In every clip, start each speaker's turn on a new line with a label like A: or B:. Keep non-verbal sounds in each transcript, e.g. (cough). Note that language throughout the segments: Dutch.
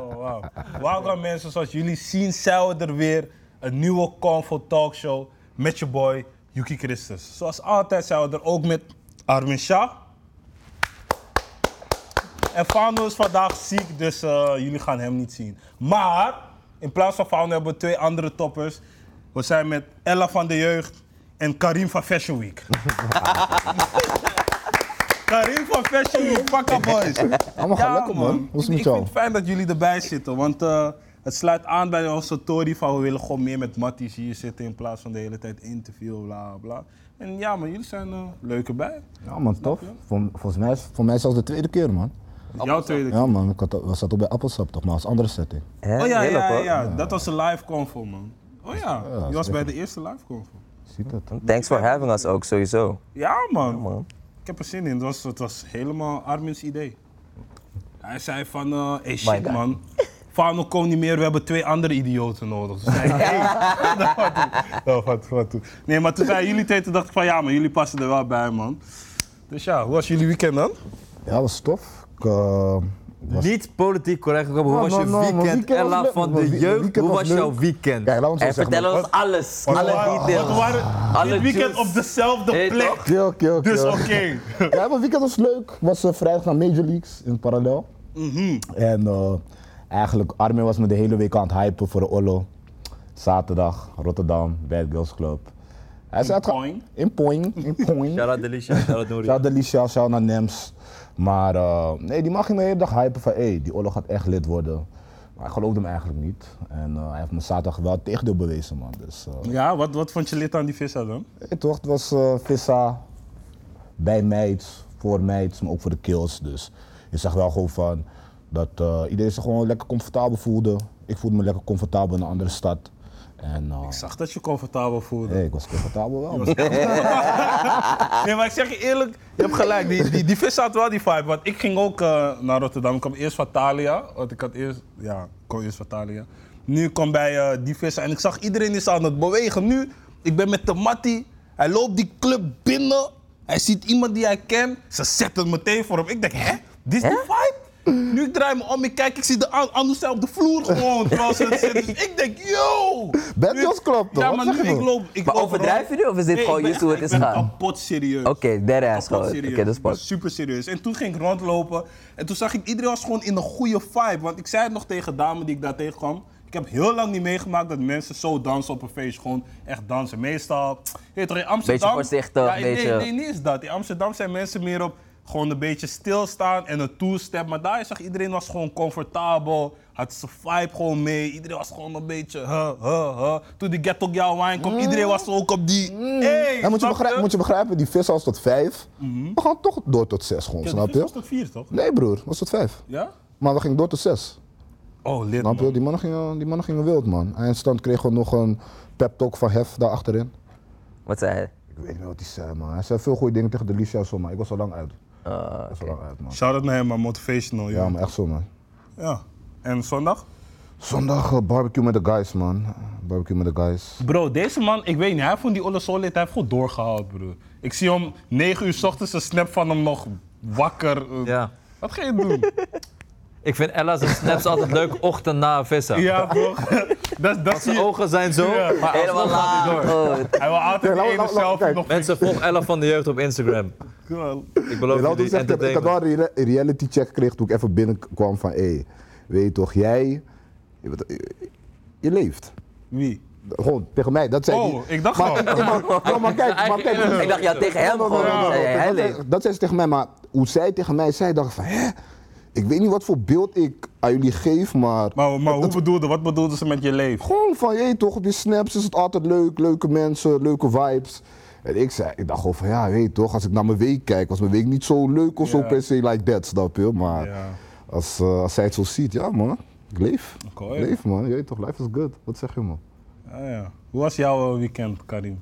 A: Oh, wow. Waarom gaan mensen zoals jullie zien zelden weer een nieuwe Convo Talkshow met je boy Yuki Christus? Zoals altijd zijn we er ook met Armin Shah. En Fano is vandaag ziek, dus eh, jullie gaan hem niet zien. Maar in plaats van Fano hebben we twee andere toppers. We zijn met Ella van de Jeugd en Karim van Fashion Week. Karim van Fashion Week, Pakka Boys.
B: Allemaal gaat lekker, man. Hoe is het met
A: ik
B: jou?
A: vind het fijn dat jullie erbij zitten, want eh, het sluit aan bij onze story van we willen gewoon meer met Matties hier zitten in plaats van de hele tijd interview, bla bla. En ja, maar jullie zijn eh leuk erbij.
B: Ja man, tof. Vol- volgens mij, is- voor mij zelfs de tweede keer man.
A: Jouw tweede keer.
B: Ja man, ik had, we zaten ook bij Appelsap toch, maar als andere setting.
A: Oh ja, ja, ja, ja, dat was een live convo, man. Oh ja,
B: dat
A: je
B: is
A: was bij de eerste live convo.
B: Ziet dat?
C: Thanks for having us ook, sowieso.
A: Ja man.
C: man.
A: ik heb er zin in. Het was, het was helemaal Armin's idee. Hij zei van, eh hey shit
C: God.
A: man, Fano komt niet meer, we hebben twee andere idioten nodig. Toen zei ik,
C: (laughs)
A: hey, (laughs) dat gaat toe, dat gaat toe, gaat toe. Nee, maar toen zei jullie tegen, toen dacht ik van ja maar jullie passen er wel bij man. Dus ja, hoe was jullie weekend dan?
B: Ja, was tof. Ik, eh, was...
D: Niet politiek correct gekomen. Hoe
B: Ah,
D: was
B: no,
D: je
B: no, mijn
D: weekend,
B: weekend was
D: Ella
B: leuk.
D: van
B: Mijn
D: de
B: wie-
D: jeugd?
B: weekend
D: Hoe
B: was
D: was jouw
B: leuk.
D: weekend?
B: Kijk, laat ons
C: En
B: zo zeggen.
C: vertel
B: maar-
C: ons alles, alle
A: Want we
C: details.
A: waren
C: Alle
A: dit weekend
C: juice.
A: op dezelfde
C: Hey,
A: plek,
C: toch?
B: Kill, kill,
A: (laughs) dus
B: kill.
A: oké.
B: Ja, mijn weekend was leuk. Was eh, vrijdag naar Major Leagues in parallel.
A: Mhm.
B: En eh, eigenlijk, Armin was me de hele week aan het hypen voor de Ollo. Zaterdag, Rotterdam, Bad Girls Club. Hij zei, het ga-
A: Poing.
B: In Poing. In Poing.
A: (laughs)
D: Shout-out Delisha, shout-out Nouri.
B: Shout out Alicia, shout naar Nems. Maar eh, nee, die mag je me de hele dag hypen van hey, die oorlog gaat echt lid worden. Maar ik geloofde hem eigenlijk niet. En eh, hij heeft me zaterdag wel het tegendeel bewezen, man. Dus eh,
A: Ja, wat, wat vond je lid aan die vissa dan?
B: hey, toch, het was eh, Vissa bij meids, voor meids, maar ook voor de kills. Dus je zag wel gewoon van dat eh, iedereen zich gewoon lekker comfortabel voelde. Ik voelde me lekker comfortabel in een andere stad. En eh,
A: Ik zag dat je comfortabel voelde.
B: hey, ik was comfortabel wel.
A: (laughs) Nee, maar ik zeg je eerlijk, je hebt gelijk. Die, die, die vis had wel die vibe. Want ik ging ook eh, naar Rotterdam. Ik kwam eerst van Thalia. Want ik had eerst, ja, ik kwam eerst van Thalia. Nu ik kwam bij eh, die vissen en ik zag iedereen is aan het bewegen. Nu, ik ben met de Mattie. Hij loopt die club binnen. Hij ziet iemand die hij kent. Ze zetten meteen voor hem. Ik denk, hè? Dit is de vibe? Nu ik draai me om, ik kijk, ik zie de an- anders zijn op de vloer gewoon. Terwijl ze het
B: (laughs)
A: zitten. Dus ik denk, yo!
B: Bad
A: Nu-
B: Girls Club, toch?
A: Ja,
B: Wat
A: maar
B: zeg
A: nu
B: je?
A: ik loop... Ik
C: Maar
A: loop
C: overdrijf je nu of is dit
A: Nee,
C: gewoon
A: ik ben
C: just hoe het
A: echt-
C: is
A: ik ben
C: gaan?
A: kapot serieus.
C: Oké, dead
A: Kapot
C: ass gewoon.
A: serieus.
C: Oké, dat is
A: Ik ben
C: pas.
A: super serieus. En toen ging ik rondlopen en toen zag ik iedereen was gewoon in een goede vibe. Want ik zei het nog tegen dame die ik daar tegenkwam. Ik heb heel lang niet meegemaakt dat mensen zo dansen op een feest. Gewoon echt dansen. Meestal, je weet toch, in Amsterdam...
C: Beetje voorzichtig,
A: Ja, nee,
C: beetje-
A: Nee, nee, is dat. In Amsterdam zijn mensen meer op gewoon een beetje stilstaan en een two-step. Maar daar zag iedereen was gewoon comfortabel. Had zijn vibe gewoon mee. Iedereen was gewoon een beetje... Huh, huh, huh. Toen die Get Ook Jouw Wine kwam, iedereen was ook op die... Hey,
B: Ja, Mm. moet, je
A: snap Mhm.
B: begrijpen, moet je begrijpen, die vis was tot vijf. We gaan toch door tot zes gewoon,
A: Ja, die
B: snap
A: vis
B: je?
A: was tot vier, toch?
B: Nee broer, was tot vijf.
A: Ja?
B: Maar we gingen door tot zes.
A: Oh, lid.
B: Snap je? Die mannen gingen, die mannen gingen wild man. Eindstand kregen we nog een pep talk van Hef daar achterin.
C: Wat zei hij?
B: Ik weet niet wat hij zei man. Hij zei veel goede dingen tegen de Licia zo maar ik was al lang uit.
A: Ah,
B: ik was al lang uit man.
A: Shout out naar hem, maar motivational.
B: Ja
A: Ja.
B: maar echt zo man.
A: ja. En zondag?
B: Zondag eh, barbecue met de guys man. Barbecue met de guys.
A: Bro, deze man, ik weet niet, hij vond die Olle Solid, hij heeft goed doorgehaald, broer. Ik zie om 9 uur 's ochtends een snap van hem nog wakker. eh.
D: Ja.
A: Wat ga je doen?
D: Ik vind Ella's snaps altijd leuk, ochtend na een vissen.
A: (laughs) ja, bro. (laughs) dat, dat zie
D: Zijn
A: je.
D: ogen zijn zo,
A: Ja.
D: maar
C: Helemaal
D: alsnog gaat hij
C: laag.
D: door.
C: Oh,
A: Hij wil altijd
B: Ja,
A: de
B: laat-
A: ene
B: laat- laat-
A: zelf
B: kijk.
A: nog
D: Mensen, volg Ella van de jeugd op Instagram. Ik beloof
B: Laat
D: jullie,
B: ons zeggen, ik had
D: entertainment.
B: wel een re- reality check kreeg toen ik even binnenkwam van hé, weet je toch, jij, je, bent- je leeft.
A: Wie?
B: Gewoon tegen mij, dat zei hij.
A: Oh, ik dacht
B: Maar,
A: al.
B: maar, maar- maar
A: (laughs)
B: kijk, maar kijk.
C: Oh, Ik dacht, ja, tegen hem
B: Nee, nee, nee,
C: gewoon.
B: nee, nee,
C: Hey,
B: nee.
C: hij
B: Dat-
C: leeft.
B: Dat zei ze tegen mij, maar hoe zij tegen mij zei, dacht ik van, hè? Ik weet niet wat voor beeld ik aan jullie geef, maar...
A: Maar, maar hoe bedoelde, wat bedoelde ze met je leven?
B: Gewoon van, je toch, op je snaps is het altijd leuk, leuke mensen, leuke vibes. En ik zei, ik dacht gewoon van, ja, weet je toch, als ik naar mijn week kijk, was mijn week niet zo leuk of zo
A: Ja.
B: per se like that, snap je? Maar
A: Ja.
B: als, eh, als zij het zo ziet, ja man, ik leef.
A: Oké.
B: Ik leef man, je weet toch, life is good. Wat zeg je
C: (laughs)
B: man?
A: Ah, ja. Hoe was jouw eh, weekend, Karim?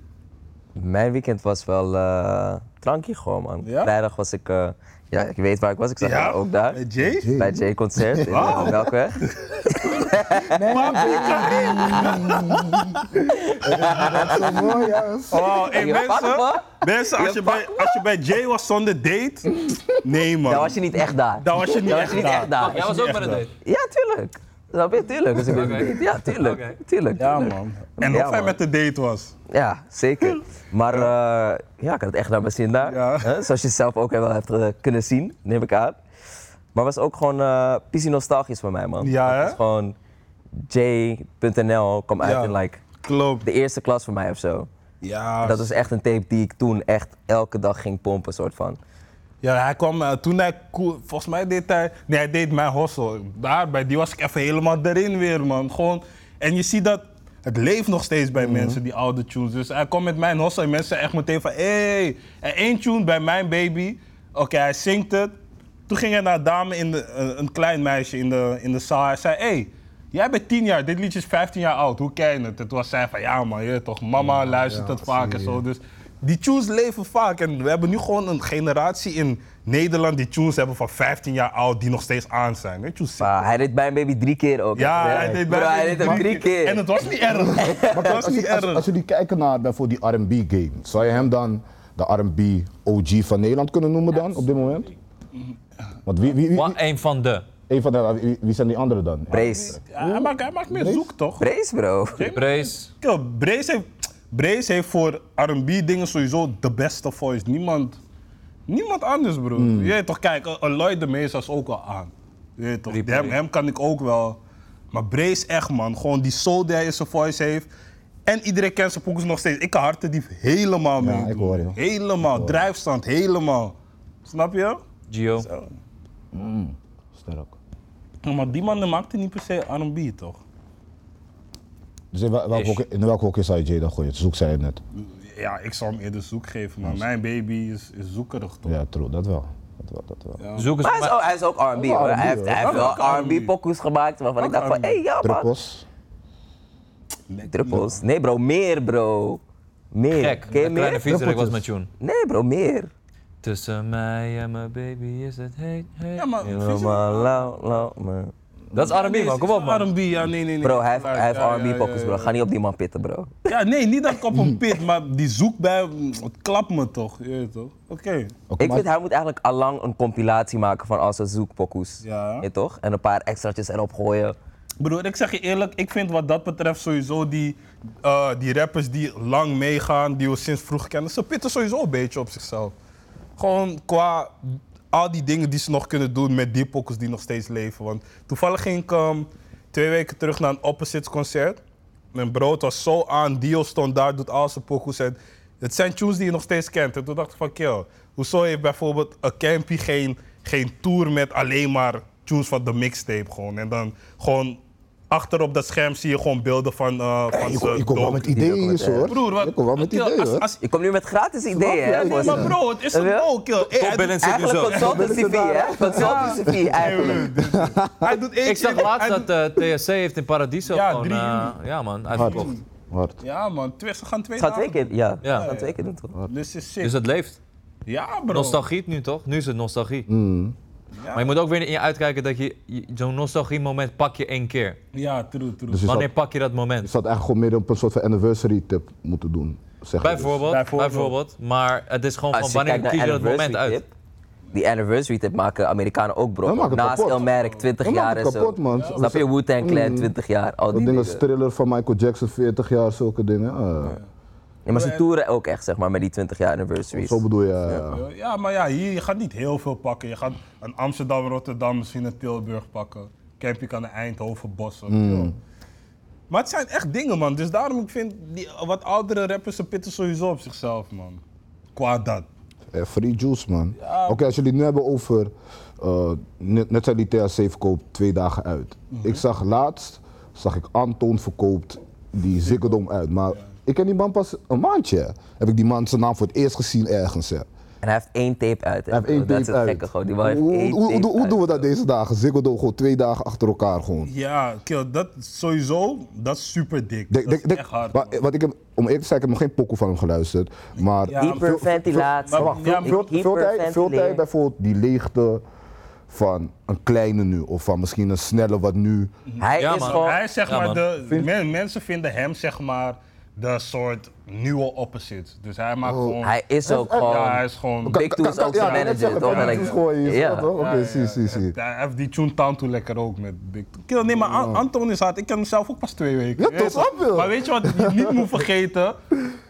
C: Mijn weekend was wel eh drankje gewoon, man.
A: Ja?
C: Vrijdag was ik eh, Ja, ik weet waar ik was. Ik zag
A: Ja?
C: jou ook daar.
A: Bij Jay?
B: Jay.
C: Bij Jay Concert in
A: Wauw.
C: eh, Melkweg.
B: Zo mooi, ja.
A: Oh, hey,
C: Je
A: mensen,
C: papa?
A: mensen als,
C: Je
A: je bij, als je bij Jay was zonder date, nee man.
C: Dan was je niet echt daar.
A: Dan was je niet
C: Dan
A: echt daar.
C: daar.
D: Jij was ook bij de date.
C: Ja, tuurlijk. Snap je? Tuurlijk. Dus ik ben
D: Oké.
C: benieuwd. Ja, tuurlijk.
D: Oké.
C: Tuurlijk.
A: Ja
C: tuurlijk.
A: man. En
C: Ja,
A: of hij
C: man.
A: met de date was.
C: Ja, zeker. Maar eh, ja, ik had het echt naar mijn zin daar.
A: Ja.
C: Hè, Zoals je zelf ook wel hebt eh, kunnen zien, neem ik aan. Maar was ook gewoon eh pissie nostalgisch voor mij, man.
A: Ja, hè?
C: Het is gewoon J.nl kwam uit
A: Ja.
C: in like,
A: Klopt.
C: de eerste klas voor mij of zo.
A: Ja.
C: Dat was echt een tape die ik toen echt elke dag ging pompen, soort van.
A: Ja, hij kwam eh, toen hij cool, volgens mij deed hij, nee, hij deed mijn hostel. Daar, bij die was ik even helemaal erin weer, man. Gewoon, en je ziet dat het leeft nog steeds bij mensen, die oude tunes. Dus hij kwam met mijn hostel en mensen zeiden echt meteen van, Hey. En één tune bij mijn baby, oké, hij zingt het. Toen ging hij naar een dame, in de, eh, een, een klein meisje in de, in de zaal. Hij zei, hey, jij bent 10 jaar, dit liedje is 15 jaar oud, hoe ken je het? En toen was zij van, ja man, je weet toch, mama luistert het vaak en zo. Dus die tunes leven vaak en we hebben nu gewoon een generatie in Nederland die tunes hebben van 15 jaar oud die nog steeds aan zijn. Weet je hoe sick?
C: Maar hij deed bij een baby drie keer ook.
A: Ja,
C: hè?
A: hij deed
C: Bro,
A: bijna
C: hij deed hem drie keer.
A: En het was niet erg.
B: Maar
A: Het
B: kijk,
A: was
B: als,
A: niet
B: je- als,
A: erg.
B: als jullie kijken naar bijvoorbeeld die R&B game, zou je hem dan de R&B OG van Nederland kunnen noemen dan, op dit moment? Want wie, wie, wie,
D: Wa- Een van de.
B: een van de, wie, wie zijn die anderen dan?
C: Brace.
A: Ja, hij, maakt, hij maakt meer zoek toch?
C: Brace, bro.
D: Brace.
A: Yo, Brace heeft, Brace heeft voor R&B dingen sowieso de beste voice. Niemand, niemand anders, bro.
B: Hmm.
A: Je weet toch, kijk, Lloyd de Mees was ook al aan. Je weet toch,
D: Rieper,
A: hem,
D: ja.
A: hem kan ik ook wel. Maar Brace echt, man. Gewoon die soul die hij in zijn voice heeft. En iedereen kent zijn pokus nog steeds. Ik kan Hartendief helemaal
B: Ja,
A: mee
B: ik hoor je.
A: Helemaal. Drijfstand, helemaal. Snap je?
D: Gio.
B: Sterk.
A: Ja, Maar die man die maakte niet per se R&B, toch?
B: Dus in, wel- welk
D: Ish.
B: hokje- in welk hokje zou je Jay dan gooien? Zoek zei je net.
A: Ja, ik zou hem eerder zoek geven, maar mijn baby is, is zoekerig, toch?
B: Ja, true, dat wel. Dat wel, dat wel.
D: Zoek eens
C: Maar hij is
D: maar.
C: ook, hij is ook R&B, hoor. Hij heeft, hij heeft
A: Ook
C: wel
A: R&B.
C: R&B-pokoes gemaakt waarvan ik dacht van,
A: R&B.
C: hé, ja man.
B: Druppels.
C: Druppels? Nee bro, meer bro. Meer.
D: Gek.
C: Ken je
D: De
C: meer?
D: kleine viezerik was
B: Druppeltjes.
D: met Joen.
C: Nee bro, meer.
D: Tussen mij en mijn baby is het heet. heet.
A: Ja, maar
C: Helemaal lauw, lauw, man.
D: Dat is R&B man, kom op man.
A: R&B, ja, nee, nee, nee.
C: Bro, hij heeft,
A: Gelijk,
C: hij heeft
A: ja, ja,
C: R&B-pokoes
A: ja,
C: bro.
A: ja.
C: Ga niet op die man pitten bro.
A: Ja, nee, niet dat ik op een pit, maar die zoekt bij, het klapt me toch, je weet toch? Oké.
B: Oké,
C: Ik
B: maar-
C: vind, hij moet eigenlijk allang een compilatie maken van al zijn zoekpokoes.
A: Ja.
C: Ja, toch? En een paar extraatjes erop gooien.
A: Broer, ik zeg je eerlijk, ik vind wat dat betreft sowieso die, eh, die rappers die lang meegaan, die we sinds vroeg kennen, ze pitten sowieso een beetje op zichzelf. Gewoon qua al die dingen die ze nog kunnen doen met die pokkers die nog steeds leven. Want toevallig ging ik ehm, twee weken terug naar een Opposites concert. Mijn brood was zo aan, Dio stond daar, doet al zijn pokkers. En het zijn tunes die je nog steeds kent. En toen dacht ik van, kill, hoezo heeft bijvoorbeeld een Campy geen, geen tour met alleen maar tunes van de mixtape gewoon. En dan gewoon achter op dat scherm zie je gewoon beelden van, eh van
B: Ik
A: zijn
B: ik kom wel
A: docu.
B: met ideeën
C: documentaire.
B: hoor.
A: Broer, wat?
B: Ik kom wel met
A: kill,
B: ideeën
A: als-
B: hoor.
A: als-
C: Je komt nu met gratis ideeën, hè?
A: Nee,
C: voor
A: maar
C: ze.
A: bro, het is een
C: Ja.
A: no kill. Hey, hij doet-
D: Balance zit nu
C: Eigenlijk
D: zo.
C: consultancy fee, hè? Consultancy fee, eigenlijk.
A: Hij doet één
D: Ik zag
A: keer-
D: laatst
A: hij
D: dat
A: doet-
D: eh, TSC heeft in Paradiso
A: Ja,
D: gewoon...
A: drie
D: eh, ja man,
B: Hard.
D: uitverkocht.
B: Hard.
A: Ja man, twee, ze gaan twee
C: Gaat twee
A: dagen.
C: keer, ja.
D: Ja.
C: Gaat twee keer doen, toch?
A: Dus is sick.
D: Dus het leeft.
A: ja bro.
D: Nostalgie nu toch? Nu is het nostalgie.
C: Mm.
D: Maar je moet ook weer in je uitkijken dat je je- zo'n nostalgie moment pak je één keer.
A: Ja, true, true.
B: Dus je
D: Wanneer
B: zou,
D: pak je dat
B: je
D: moment?
B: zou het eigenlijk gewoon midden op een soort van anniversary tip moeten doen. Zeg je dus.
D: Bijvoorbeeld,
A: Bijvoorbeeld.
D: bijvoorbeeld. Maar het is gewoon van
C: Als je
D: wanneer
C: kijkt
D: kies
C: naar
D: je dat moment
C: anniversary
D: uit.
C: tip, die anniversary tip maken Amerikanen ook
B: Dat
C: bro.
B: maakt het
C: Naast
B: kapot.
C: Elmerk, 20
B: Dat maakt
C: jaar
B: het
C: en zo.
B: dus. kapot, man. Mm.
C: Snap je, Wu-Tang Clan, 20 jaar, al
B: Dat
C: die
B: ding
C: dingen.
B: als thriller van Michael Jackson, 40 jaar, zulke dingen. Ah,
C: Ja, maar ze toeren ook echt, zeg maar, met die 20 jaar anniversaries.
B: Zo bedoel je. ja, ja.
A: Ja, maar ja, hier, je gaat niet heel veel pakken. Je gaat een Amsterdam, Rotterdam, misschien een Tilburg pakken. Campy kan een Eindhoven, Bossen.
B: Hmm.
A: joh. Maar het zijn echt dingen, man. Dus daarom, ik vind, die wat oudere rappers, ze pitten sowieso op zichzelf, man. Qua dat.
B: Eh, free juice, man. Oké, als jullie het nu hebben over. eh, net, net zijn die THC verkoopt twee dagen uit. Ik zag laatst, zag ik Anton verkoopt die Ziggedom uit. Maar ik ken die man pas een maandje. Heb ik die man zijn naam voor het eerst gezien ergens. Hè.
C: En hij heeft één tape uit. hè.
B: Hij heeft één
C: Oh, dat
B: tape
C: is het
B: uit.
C: gekke gewoon. Die man
B: hoe,
C: heeft
B: hoe,
C: één
B: hoe,
C: tape
B: hoe, hoe
C: uit.
B: doen we dat deze dagen? Ziggo Dome gewoon twee dagen achter elkaar gewoon.
A: Ja, kill, dat sowieso, dat is super dik. dat
B: Denk-
A: is
B: denk- denk-
A: echt hard.
B: wa-
A: man.
B: wat ik heb, om eerlijk te zijn, ik heb nog geen pokoe van hem geluisterd. Maar
A: Ja,
B: veel- veel-
C: Hyperventilatie.
B: maar wacht, veel-
A: Ja, maar-
B: veel- veel tijd- Veel tijd
C: hyperventileren.
B: bijvoorbeeld die leegte van een kleine nu. Of van misschien een snelle wat nu.
C: Hij
D: Ja,
C: is
D: man.
C: gewoon...
A: Hij is zeg
D: Ja,
A: maar
D: man.
A: de, men- mensen vinden hem zeg maar de soort nieuwe opposite. Dus hij maakt
B: Oh.
A: gewoon...
C: Hij is ook gewoon...
A: ja, hij is gewoon...
C: Big Two is ook
B: ja,
C: zijn
B: ik net
C: manager,
B: zeggen,
C: toch?
B: kan
C: En
B: je
C: ik-
B: iets gooien,
C: Ja.
B: ja, toch? Oké,
A: Ja,
B: zie,
A: ja,
B: zie, zie.
A: Hij heeft die Toontown toen lekker ook met Big Two. Kill, nee, maar An- Anton is hard. Ik ken hem zelf ook pas twee weken.
B: Oh. Ja,
A: Je weet
B: toch, snap je?
A: Maar weet je wat je niet moet vergeten?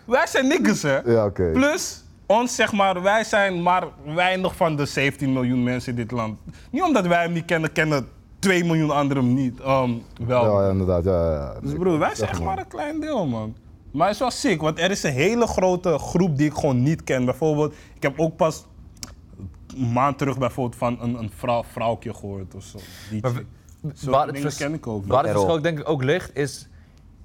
A: Wij zijn niggers, hè?
B: Ja, oké.
A: Plus, ons zeg maar, wij zijn maar weinig van de 17 miljoen mensen in dit land. Niet omdat wij hem niet kennen, kennen 2 miljoen anderen hem niet. Ehm, wel.
B: Ja, ja, inderdaad, ja, ja. ja.
A: Dus broer, wij zijn echt maar een klein deel, man. Maar het is wel sick, want er is een hele grote groep die ik gewoon niet ken. Bijvoorbeeld, ik heb ook pas een maand terug bijvoorbeeld van een, een vrouw, vrouwtje gehoord of zo. Die
D: Maar
A: chick. Zulke
D: waar het
A: dingen
D: vers-
A: ken ik ook niet.
D: Waar het
C: Errol.
D: verschil ook, denk ik ook ligt is...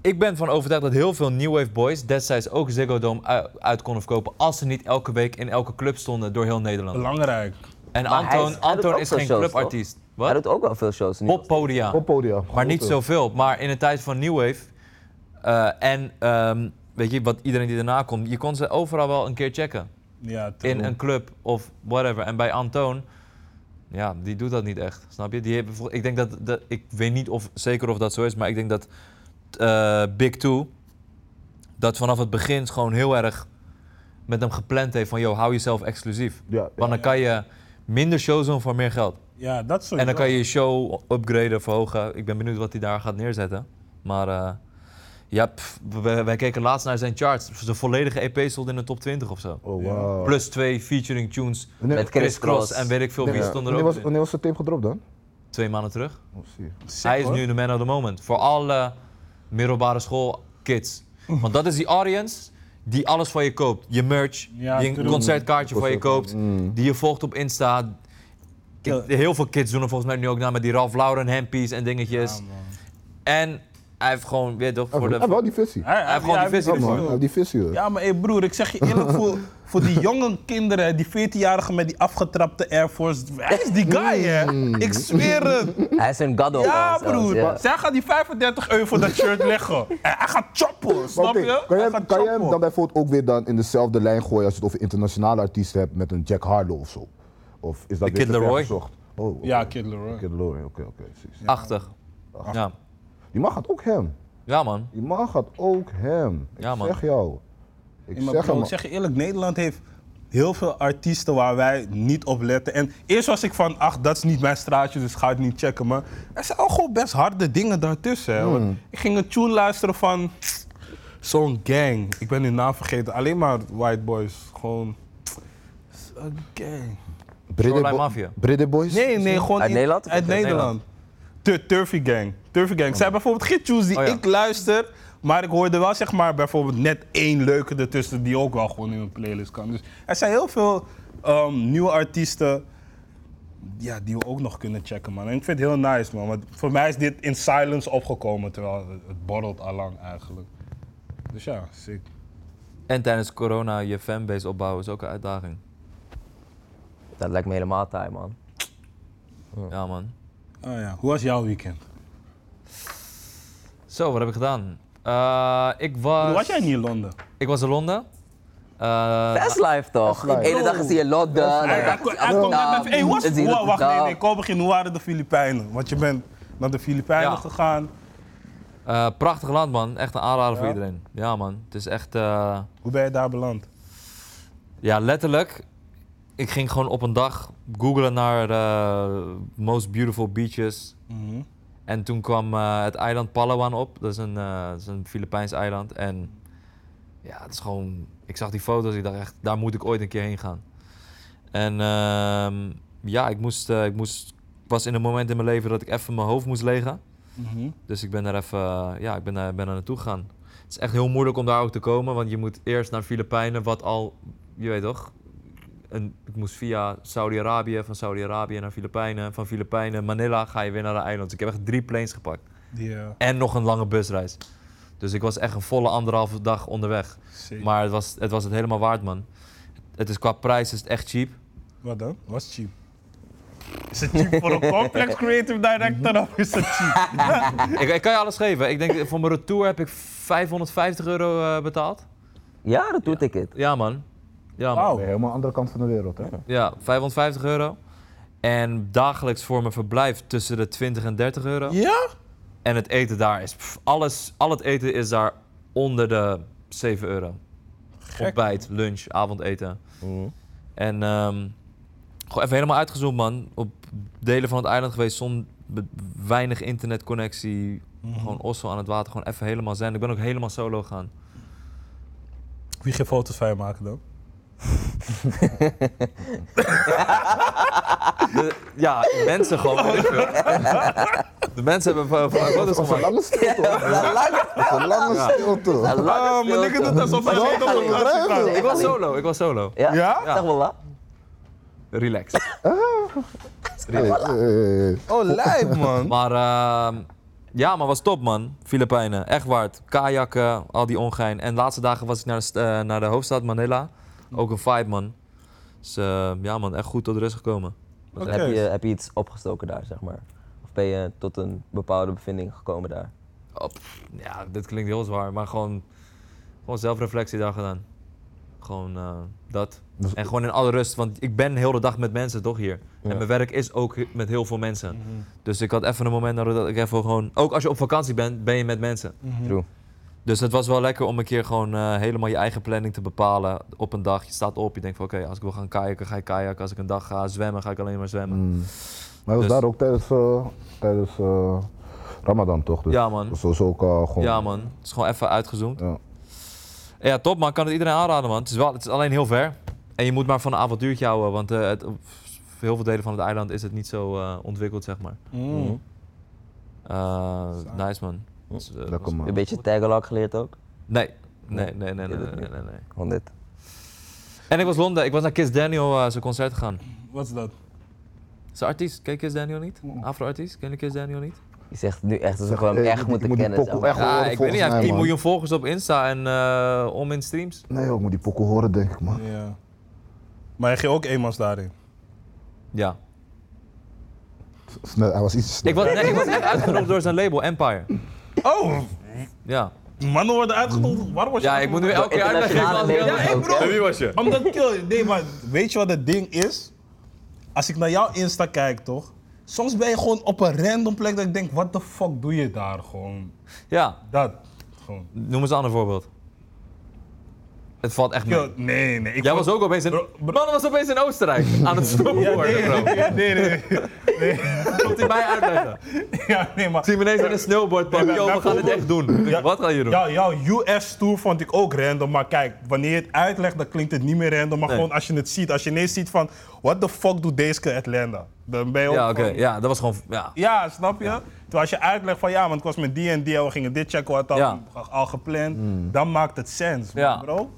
D: Ik ben van overtuigd dat heel veel New Wave boys destijds ook Ziggo Dome u- uit konden verkopen... als ze niet elke week in elke club stonden door heel Nederland.
A: Belangrijk.
D: En
C: Maar hij
D: Antoon
C: hij doet
D: Antoon
C: ook
D: is
C: veel
D: geen
C: shows,
D: clubartiest.
C: toch? Hij
D: Wat?
C: doet ook wel veel shows nu.
D: Op podia.
B: Op podia.
D: Maar niet
B: Grote.
D: zoveel. Maar in de tijd van New Wave... eh, en ehm, weet je, wat iedereen die daarna komt... je kon ze overal wel een keer checken.
A: Ja, true.
D: in een club of whatever. En bij Antoon, ja, die doet dat niet echt. Snap je? Die heeft, ik denk dat, dat- ik weet niet of zeker of dat zo is, maar ik denk dat eh, Big Two dat vanaf het begin gewoon heel erg met hem gepland heeft van, yo, hou jezelf exclusief.
B: Ja, ja.
D: Want dan kan je minder shows doen voor meer geld.
A: ja, dat soort
D: En dan kan je je show upgraden, verhogen. Ik ben benieuwd wat hij daar gaat neerzetten. Maar eh, ja, pff, wij, wij keken laatst naar zijn charts. Zijn volledige EP stond in de top 20 of zo.
B: Oh, wow.
D: Plus twee featuring tunes
B: Wanneer-
D: met Chris Cross en weet ik veel wie
B: Ja.
D: stond er
B: Wanneer
D: ook
B: was-
D: in.
B: Wanneer was de tape gedropt dan?
D: Twee maanden terug.
B: Oh, zie.
A: Sick,
D: Hij is
A: hoor.
D: nu de man of the moment voor alle middelbare school kids. Want dat is die audience die alles van je koopt. Je merch,
A: Ja,
D: die een
A: true.
D: concertkaartje mm. van je koopt, die je volgt op Insta. Ik- heel veel kids doen er volgens mij nu ook naar met die Ralph Lauren hempies en dingetjes. en hij heeft gewoon, weet je toch, voor
B: Hij heeft
D: de...
B: Ah, wel die visie.
A: Hij,
D: heeft gewoon die visie
B: Ja,
A: visie
B: man.
A: voor.
B: Hij heeft die visie, hoor.
A: Ja, maar hey broer, ik zeg je eerlijk, voor, voor die jonge kinderen, die 14-jarigen met die afgetrapte Air Force, hij is die guy, hè?
D: Mm.
A: Ik zweer het.
C: Hij is een god
A: Ja,
C: zelfs,
A: broer.
C: ja.
A: Zij gaat die 35 euro voor dat shirt
B: (laughs)
A: leggen. En hij gaat choppen,
B: Maar
A: snap
B: oké,
A: je?
B: Kan jij,
A: Hij
B: hem-
A: gaat
B: kan jij hem dan
A: choppen.
B: bijvoorbeeld ook weer dan in dezelfde lijn gooien als je het over internationale artiesten hebt met een Jack Harlow of zo? Of is dat
D: De
B: weer
D: Kid
B: te ver
D: Leroy?
B: gezocht? Oh, oké.
A: Ja, Kid Leroy.
B: Kid Leroy, oké, oké. precies.
D: Achtig. Ja.
B: Die man gaat ook hem.
D: ja, man.
B: Die man gaat ook hem. Ik
D: Ja, man.
B: zeg jou. Ik
A: Ja, maar
B: zeg
A: bro,
B: hem.
A: ik zeg je eerlijk, Nederland heeft heel veel artiesten waar wij niet op letten. En eerst was ik van, ach, dat is niet mijn straatje, dus ga het niet checken. Maar er zijn al gewoon best harde dingen daartussen. hè.
B: Hmm.
A: Want ik ging een tune luisteren van zo'n gang. Ik ben hun naam vergeten. Alleen maar white boys. Gewoon zo'n gang.
B: Brede
D: Shoreline
B: Bo-
D: Mafia.
B: Brede Boys?
A: Nee, nee, gewoon
C: Uit
A: in-
C: Nederland?
A: Uit
C: Uit
A: Nederland. Tu- Turfy Gang. Turfy Gang. Zijn bijvoorbeeld geen tunes die
D: Oh ja.
A: ik luister, maar ik hoorde wel zeg maar bijvoorbeeld net één leuke ertussen die ook wel gewoon in mijn playlist kan. Dus er zijn heel veel ehm, nieuwe artiesten ja, die we ook nog kunnen checken, man. En ik vind het heel nice, man. Want voor mij is dit in silence opgekomen, terwijl het- het borrelt al lang eigenlijk. Dus ja, sick.
D: En tijdens corona je fanbase opbouwen is ook een uitdaging.
C: Dat lijkt me helemaal taai, man.
D: Ja, man.
A: Oh ja, hoe was jouw weekend?
D: Zo, wat heb ik gedaan? Eh, ik was...
A: Was jij niet in Londen?
D: Ik was in Londen. Eh,
C: Best life, toch?
B: Best life.
C: De ene dag is hij in Londen, de
A: Hij-
C: andere
A: hij
C: dag
A: kon-
C: is
A: hij
C: hij
A: kon net
C: Amsterdam.
A: even- Hey, hoe was-
C: is hij in
A: Wow, wacht, nee,
C: Rotterdam.
A: nee, kom begin. Hoe waren de Filipijnen? Want je bent naar de Filipijnen
D: Ja.
A: gegaan.
D: eh, prachtig land, man. Echt een aanrader voor iedereen. Ja, man. Het is echt... eh,
A: Hoe ben je daar beland?
D: ja, letterlijk. Ik ging gewoon op een dag googlen naar eh, most beautiful beaches.
A: Mhm.
D: En toen kwam eh, het eiland Palawan op. Dat is een, eh, dat is een Filipijns eiland. En ja, het is gewoon... Ik zag die foto's ik dacht echt, daar moet ik ooit een keer heen gaan. En ehm, ja, ik moest... eh, ik moest ik was in een moment in mijn leven dat ik even mijn hoofd moest legen.
A: Mhm.
D: Dus ik ben daar even, eh, ja, ik ben daar, ben daar naartoe gegaan. Het is echt heel moeilijk om daar ook te komen, want je moet eerst naar Filipijnen, wat al, je weet toch? En ik moest via Saudi-Arabië, van Saudi-Arabië naar Filipijnen, van Filipijnen, Manila ga je weer naar de eiland. Dus ik heb echt drie planes gepakt
A: Die, eh,
D: en nog een lange busreis. Dus ik was echt een volle anderhalve dag onderweg.
A: zee-
D: Maar het was, het was het helemaal waard, man. het is qua prijs is het echt cheap.
A: Wat dan? Was cheap. Is het cheap voor (laughs) een complex creative director of is het cheap?
D: ik, ik kan je alles geven. Ik denk, voor mijn retour heb ik 550 euro eh, betaald.
C: Ja, retourticket.
D: Ja, man. Ja, man.
A: Wauw.
B: Ben je helemaal aan de andere kant van de wereld, hè?
D: Ja, 550 euro. En dagelijks voor mijn verblijf tussen de 20 en 30 euro.
A: Ja?
D: En het eten daar is. pff, alles, al het eten is daar onder de 7 euro. Ontbijt, lunch, avondeten. En ehm, gewoon even helemaal uitgezoomd, man. Op delen van het eiland geweest, zon, be- weinig internetconnectie. Gewoon ossel aan het water, gewoon even helemaal zijn. Ik ben ook helemaal solo gegaan.
A: Wie geen foto's van je maken dan?
D: De- ja, mensen (laughs) gewoon. weet ik veel. De mensen hebben van foto's
B: Dat is een
D: gemaakt.
B: lange stilte. Dat is een lange stilte.
C: Een lange
A: Ah, maar
C: stilte.
A: ik doet alsof hij weet hoe het eruit
B: bedrijven.
A: ziet.
D: Ik was solo, ik was solo.
C: Ja,
A: Ja?
C: Zeg wel la.
D: Relax.
B: Hey, hey, hey.
A: Oh, lijp man.
D: Maar ehm, ja, maar was top man. Filipijnen, echt waard. Kajakken, al die ongein. En de laatste dagen was ik naar de, st- eh, naar de hoofdstad Manila. Ook een vibe man. Dus eh, ja man, echt goed tot rust gekomen.
A: Oké.
C: Heb, je, heb je iets opgestoken daar, zeg maar? Of ben je tot een bepaalde bevinding gekomen daar?
D: Oh, pff, ja, dit klinkt heel zwaar, maar gewoon, gewoon zelfreflectie daar gedaan. Gewoon eh, dat.
B: Dus-
D: En gewoon in alle rust, want ik ben heel de dag met mensen toch hier. En mijn werk is ook he- met heel veel mensen. Dus ik had even een moment nodig dat ik even gewoon... Ook als je op vakantie bent, ben je met mensen.
A: Mhm.
C: True.
D: Dus het was wel lekker om een keer gewoon eh, helemaal je eigen planning te bepalen op een dag. Je staat op, je denkt van oké, als ik wil gaan kajakken, ga ik kajakken. Als ik een dag ga zwemmen, ga ik alleen maar zwemmen.
B: Maar dat was
D: Dus-
B: daar ook tijdens, eh, tijdens eh, Ramadan, toch? Dus
D: Ja, man.
B: Dat is ook eh, gewoon...
D: Ja man, het is gewoon even uitgezoomd.
B: Ja.
D: Ja, top man. Kan het iedereen aanraden, man. Het is, wel, het is alleen heel ver. En je moet maar van een avontuurtje houden, want eh, het, op heel veel delen van het eiland is het niet zo eh, ontwikkeld, zeg maar.
A: Mhm.
D: Eh, nice, man.
B: Oh,
D: Dus, eh, was-
B: Lekker, man.
C: Een beetje Tagalog geleerd ook?
D: Nee.
B: Oh.
D: Nee, nee, nee, nee, nee, nee, nee, nee.
C: Van dit.
D: En ik was Londen. Ik was naar Kiss Daniel eh, zijn concert gegaan.
A: Wat is dat?
D: Zijn artiest. Ken je Kiss Daniel niet?
B: Oh.
D: Afro-artiest. Ken je Kiss Daniel niet?
C: Je zegt nu echt alsof we
B: Zeg,
C: hem
B: eh,
C: echt
B: ik
C: moeten
B: moet die
C: kennen.
B: pokoe
C: zeg
B: echt
C: maar.
B: horen.
D: Ah, ik weet niet. Hij heeft
B: volgens mij,
D: 10
B: man.
D: miljoen volgers op Insta en eh, om in streams.
B: Nee, ik moet die pokoe horen, denk ik, man.
A: Ja. Maar je ging ook eenmans daarin.
D: Ja.
B: Snel, hij was iets te snel.
D: Ik was, nee, ik was echt uitgenodigd door zijn label, Empire.
A: Oh,
D: Ja.
A: mannen worden uitgenodigd. Waarom was je
D: Ja, ik moet nu
A: uitgenodigd?
D: elke keer uitleggen.
C: internationale labels
D: Ja, ik
C: ook,
D: bedoel-
C: hè?
D: Wie was je?
A: Omdat, kill, nee, maar weet je wat het ding is? Als ik naar jouw Insta kijk, toch? Soms ben je gewoon op een random plek dat ik denk, wat de fuck doe je daar gewoon?
D: Ja,
A: Dat, gewoon.
D: noem eens een ander voorbeeld. Het valt echt mee.
A: Kill, nee, nee. Ik
D: Jij
A: vond-
D: was ook opeens in...
A: Bro,
D: Man, dat was opeens in Oostenrijk. Aan
A: (laughs)
D: het
A: Ja,
D: snowboarden,
A: nee,
D: bro.
A: nee, nee, nee, (laughs) nee.
D: Komt hij mij uitleggen.
A: Ja, nee, maar...
D: Ik zie hem ineens in een snowboardpak.
A: Nee, maar
D: Yo, we
A: dat
D: gaan dit
A: komt-
D: echt doen. Ik denk,
A: Ja,
D: Wat gaan jullie
A: Jou-
D: doen?
A: jouw US-tour vond ik ook random, maar kijk, wanneer je het uitlegt, dan klinkt het niet meer random. Maar gewoon als je het ziet, als je ineens ziet van, what the fuck doet deze keer Atlanta? Dan ben je ook
D: Ja, oké.
A: van-
D: Ja, dat was gewoon... Ja.
A: Ja, snap je? Terwijl als je uitlegt van ja, want ik was met die en die en we gingen dit checken, we hadden al, al gepland, dan maakt het sens,
D: Ja.
A: bro.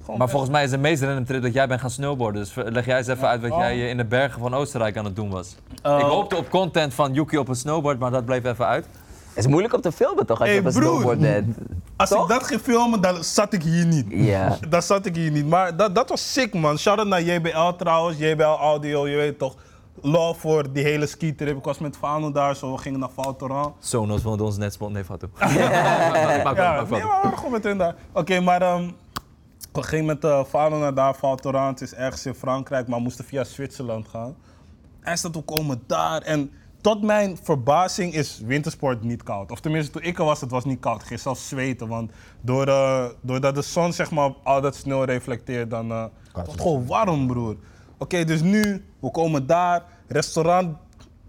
A: Gewoon
D: Maar volgens mij is de meest random trip dat jij bent gaan snowboarden. Dus ver- leg jij eens even uit wat
A: Oh.
D: jij eh, in de bergen van Oostenrijk aan het doen was.
C: Oh.
D: Ik hoopte op content van Yuki op een snowboard, maar dat bleef even uit.
C: Het is moeilijk om te filmen toch als
A: Hey,
C: je op een
A: broer.
C: snowboard bent?
A: Als ik dat ging filmen, dan zat ik hier niet. (laughs)
C: Ja.
A: Dan zat ik hier niet. Maar dat, dat was sick, man. Shout-out naar JBL trouwens, JBL Audio, je weet toch. Love voor die hele ski-trip. Ik was met Fano daar, zo. we gingen naar Val Thorens.
D: Sonos wilde ons net spot. Nee, Fatou.
C: (laughs)
D: Maak (laughs) wel, maak wel,
A: Ja,
D: maak wel.
A: nee, maar we waren gewoon met hun daar. Oké, maar ehm, we gingen met eh Fano naar daar. Val Thorens het is ergens in Frankrijk, maar we moesten via Zwitserland gaan. En staat, we komen daar. En tot mijn verbazing is wintersport niet koud. Of tenminste, toen ik er was, het was niet koud. Ik ging zelfs zweten, want door, eh, doordat de zon zeg maar, op al dat sneeuw reflecteert, dan eh wordt het gewoon warm, broer. Oké, dus nu, we komen daar. Restaurant,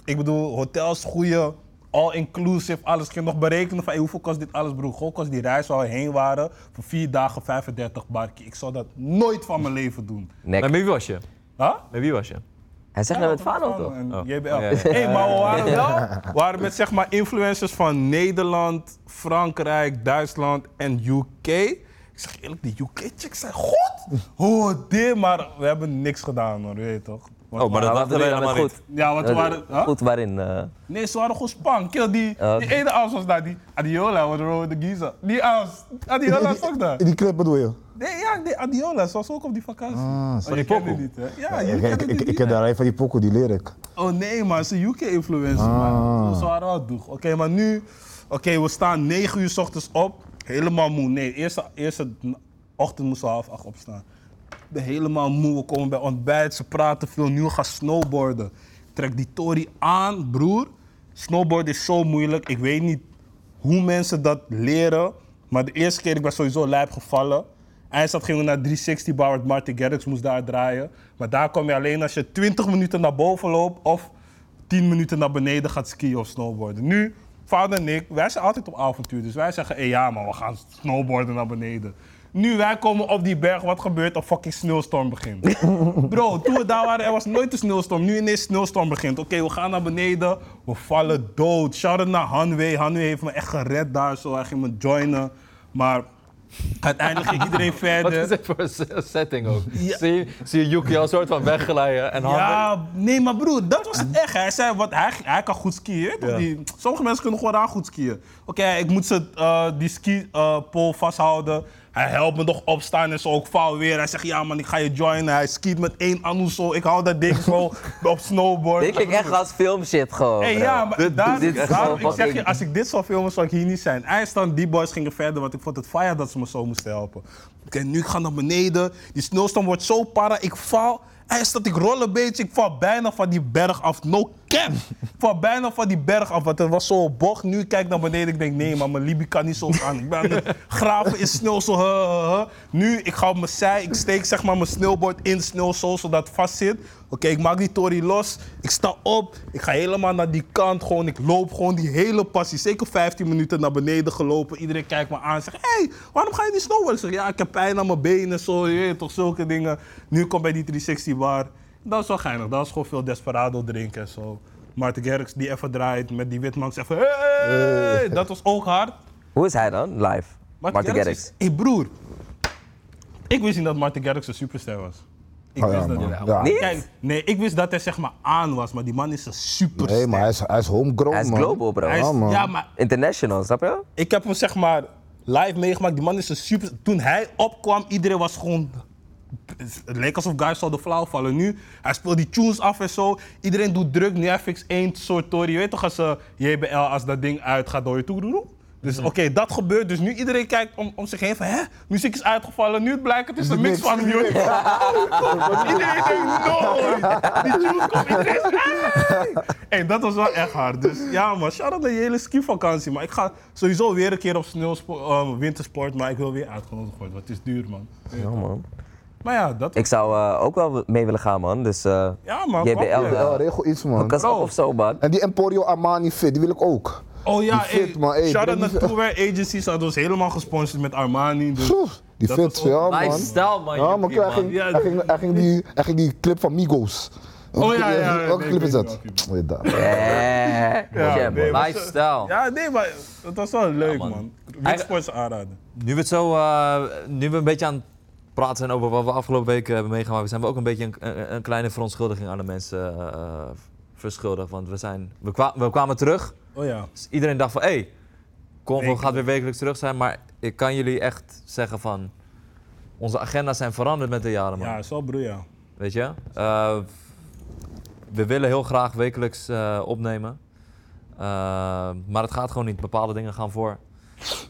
A: ik bedoel, hotels, goede, all-inclusive, alles. Ik ging nog berekenen van, hey, hoeveel kost dit alles, broer? Gewoon kost die reis waar we heen waren, voor vier dagen 35 barkie. Ik zou dat nooit van mijn leven doen.
D: Met
C: Nek.
D: wie was je?
A: Huh?
D: Met wie was je?
C: Hij zegt nou met Fano toch?
A: En
D: Oh.
A: JBL.
D: Oh, ja, ja.
A: Hey, maar we waren wel we waren met zeg maar influencers van Nederland, Frankrijk, Duitsland en UK. Ik zeg eerlijk, die UK-chicks zijn goed. Oh, dit, maar we hebben niks gedaan hoor, je weet toch. We Want
D: Oh, maar
A: we-
D: dat
C: Maar wat
D: dachten wij
C: bedoel je dan
D: helemaal
C: met
D: niet.
C: goed?
A: Ja, want we
C: Wat-
A: waren... huh?
C: Goed waarin? eh,
A: Nee, ze waren gewoon span. Kill die,
C: Ah,
A: die
C: oké.
A: ene as was daar, die Adiola, wat rode Giza. Die as, Adiola is ook daar.
B: In die clip bedoel je?
A: Nee, ja, die Adiola, ze was ook op die vakantie. Oh, je
B: van
D: die
A: kent die
D: pokoe.
A: niet, hè? Ja, je
B: Ik, ik,
A: kent
B: ik,
A: die
B: ik
A: niet.
B: ken de rij van die pokoe, die leer ik.
A: Oh nee, maar ze UK-influencer, man. Ze waren wel doeg. Oké, maar nu... Oké, we staan 9 uur s ochtends op. Helemaal moe. Nee, eerste, eerste n- ochtend moesten we half acht opstaan. Ik ben helemaal moe. We komen bij ontbijt. Ze praten veel. Nu we gaan snowboarden. Ik trek die Tory aan, broer. Snowboarden is zo moeilijk. Ik weet niet hoe mensen dat leren. Maar de eerste keer, ik ben sowieso lijp gevallen. Eindstad gingen we naar 360 bar, want Martin Garrix moest daar draaien. Maar daar kom je alleen als je 20 minuten naar boven loopt of 10 minuten naar beneden gaat skiën of snowboarden. Nu, vader en ik, wij zijn altijd op avontuur. Dus wij zeggen, hé ja man, we gaan snowboarden naar beneden. Nu, wij komen op die berg, wat gebeurt? Een fucking sneeuwstorm
D: (laughs)
A: begint. Bro, toen we daar waren, er was nooit een sneeuwstorm. Nu ineens sneeuwstorm begint. Oké, we gaan naar beneden. We vallen dood. Shout-out naar Hanwee. Hanwee heeft me echt gered daar zo. Hij ging me joinen. Maar uiteindelijk ging iedereen
D: (laughs) Wat
A: verder.
D: is dit voor een se- setting ook?
A: eh, Ja.
D: Zie, je- zie je Yuki al een soort van wegglijden en handen.
A: Ja, nee, maar broer, dat was het echt. Hij zei, wat, hij, hij kan goed skiën. je weet toch? Die, sommige mensen kunnen gewoon aan goed skiën. Oké, ik moet ze, eh, die ski-pole vasthouden. Hij helpt me nog opstaan en zo. ook val weer. Hij zegt, ja man, ik ga je joinen. Hij skiet met één anus zo. Ik hou dat ding zo op snowboard.
C: Dit klinkt echt als filmshit gewoon.
A: Hey,
C: bro.
A: ja, maar
C: Dit-
A: daar,
C: dit is
A: daarom-
C: gewoon
A: ik zeg je,
C: fucking-
A: als ik dit zou filmen, zou ik hier niet zijn. Eindstand, die boys gingen verder, want ik vond het fire dat ze me zo moesten helpen. Oké, nu ik ga naar beneden. Die sneeuwstorm wordt zo para, ik val. Eindstand, ik rol een beetje, ik val bijna van die berg af. No cap! ik val bijna van die berg af, want er was zo'n bocht. Nu kijk ik naar beneden, ik denk, nee, maar mijn Libi kan niet zo gaan. Ik ben aan het graven in sneeuw, zo. huh, huh, huh. Nu, ik ga op mijn zij, ik steek zeg maar mijn snowboard in sneeuw, zo, zodat het vast zit. Oké, ik maak die Tory los. Ik sta op. Ik ga helemaal naar die kant. Gewoon, ik loop gewoon die hele passie. Zeker 15 minuten naar beneden gelopen. Iedereen kijkt me aan en zegt: Hé, hey, waarom ga je niet snowboarden? Ik zeg: Ja, ik heb pijn aan mijn benen. Zo, je weet toch, zulke dingen. Nu kom bij die 360 bar. Dat is wel geinig. Dat is gewoon veel Desperado drinken en zo. Maarten Gerks die even draait met die witman. Zegt: van,
B: Eh.
A: Hey, dat was ook hard.
C: Hoe is hij dan, live? Martin Garrix.
A: Hé, broer. Ik wist niet dat Martin Garrix een superster was. Ik
B: Oh,
A: wist
B: ja,
A: dat
B: man.
A: niet.
B: Ja.
C: Niet?
A: Ah, Kijk, nee, ik wist dat hij zeg maar aan was, maar die man is een super.
B: Nee, maar hij is, hij is homegrown,
C: Hij is
B: man.
C: global, bro.
A: Hij is-
B: Ja, man.
A: ja, maar
C: International, snap je?
A: ik heb hem zeg maar live meegemaakt. Die man is een super. Toen hij opkwam, iedereen was gewoon. Het leek alsof guys zouden flauw vallen. Nu, hij speelt die tunes af en zo. Iedereen doet druk. Nu hij fixt één soort tory. Je weet toch als eh, JBL, als dat ding uitgaat, door je toe. doe, doe. Dus
B: Mhm.
A: oké, dat gebeurt. Dus nu iedereen kijkt om, om zich heen van, hè? Muziek is uitgevallen. Nu blijkt het is een mix van
B: (laughs)
A: jullie. (laughs) Iedereen denkt, no! Die tunes komt iedereen is, "Hey!" Hey, dat was wel echt hard. Dus ja, man, shout-out naar je hele skivakantie. Maar ik ga sowieso weer een keer op sneeuwspo- eh, wintersport, maar ik wil weer uitgenodigd worden, want het is duur, man.
C: Ja, man.
A: Maar ja, dat...
C: Ik zou eh, ook wel mee willen gaan, man. Dus eh
A: Ja, man,
C: JBL,
A: kom,
B: Ja,
C: eh,
B: regel iets, man.
C: hook us
A: Bro.
C: up of zo, man.
B: En die Emporio Armani fit, die wil ik ook.
A: Oh ja,
B: Die fit,
A: hey,
B: man. Hey,
A: shout-out
B: breng
A: naar
B: die-
A: Tourwear Agency. Ze hadden ons helemaal gesponsord met Armani. Dus
B: (laughs) Pff, Die
A: Dat
B: fit,
A: was ook
B: ja, man.
D: Lifestyle, man.
B: Ja, maar
D: Yuki,
B: kijk, hij ging,
D: man.
A: Ja,
B: hij ging, hij ging die, hij ging die clip van Migos.
A: Oh, ja, ja, ja,
B: Welke
A: nee,
B: clip
A: ik
B: is
A: weet
B: dat?
A: welke clip.
B: Weet dat.
C: Yeah.
A: Ja,
C: Jam,
A: nee,
C: man.
A: maar-
D: Lifestyle.
A: Ja, nee, maar dat was wel leuk, man.
D: man.
A: man. Windsports aanraden.
D: Nu we, het zo, eh, nu we een beetje aan het praten zijn over wat we afgelopen weken hebben meegemaakt, zijn we ook een beetje een, een, een kleine verontschuldiging aan de mensen eh, verschuldigd. Want we, zijn, we, kwa- we kwamen terug.
A: Oh ja.
D: Dus iedereen dacht van, hé, hey, Convo
A: Wekelijks.
D: gaat weer wekelijks terug zijn. Maar ik kan jullie echt zeggen van, onze agenda's zijn veranderd met de jaren, man.
A: Ja, zo broer, ja.
D: Weet je? Eh, we willen heel graag wekelijks eh, opnemen. Eh, maar het gaat gewoon niet. Bepaalde dingen gaan voor.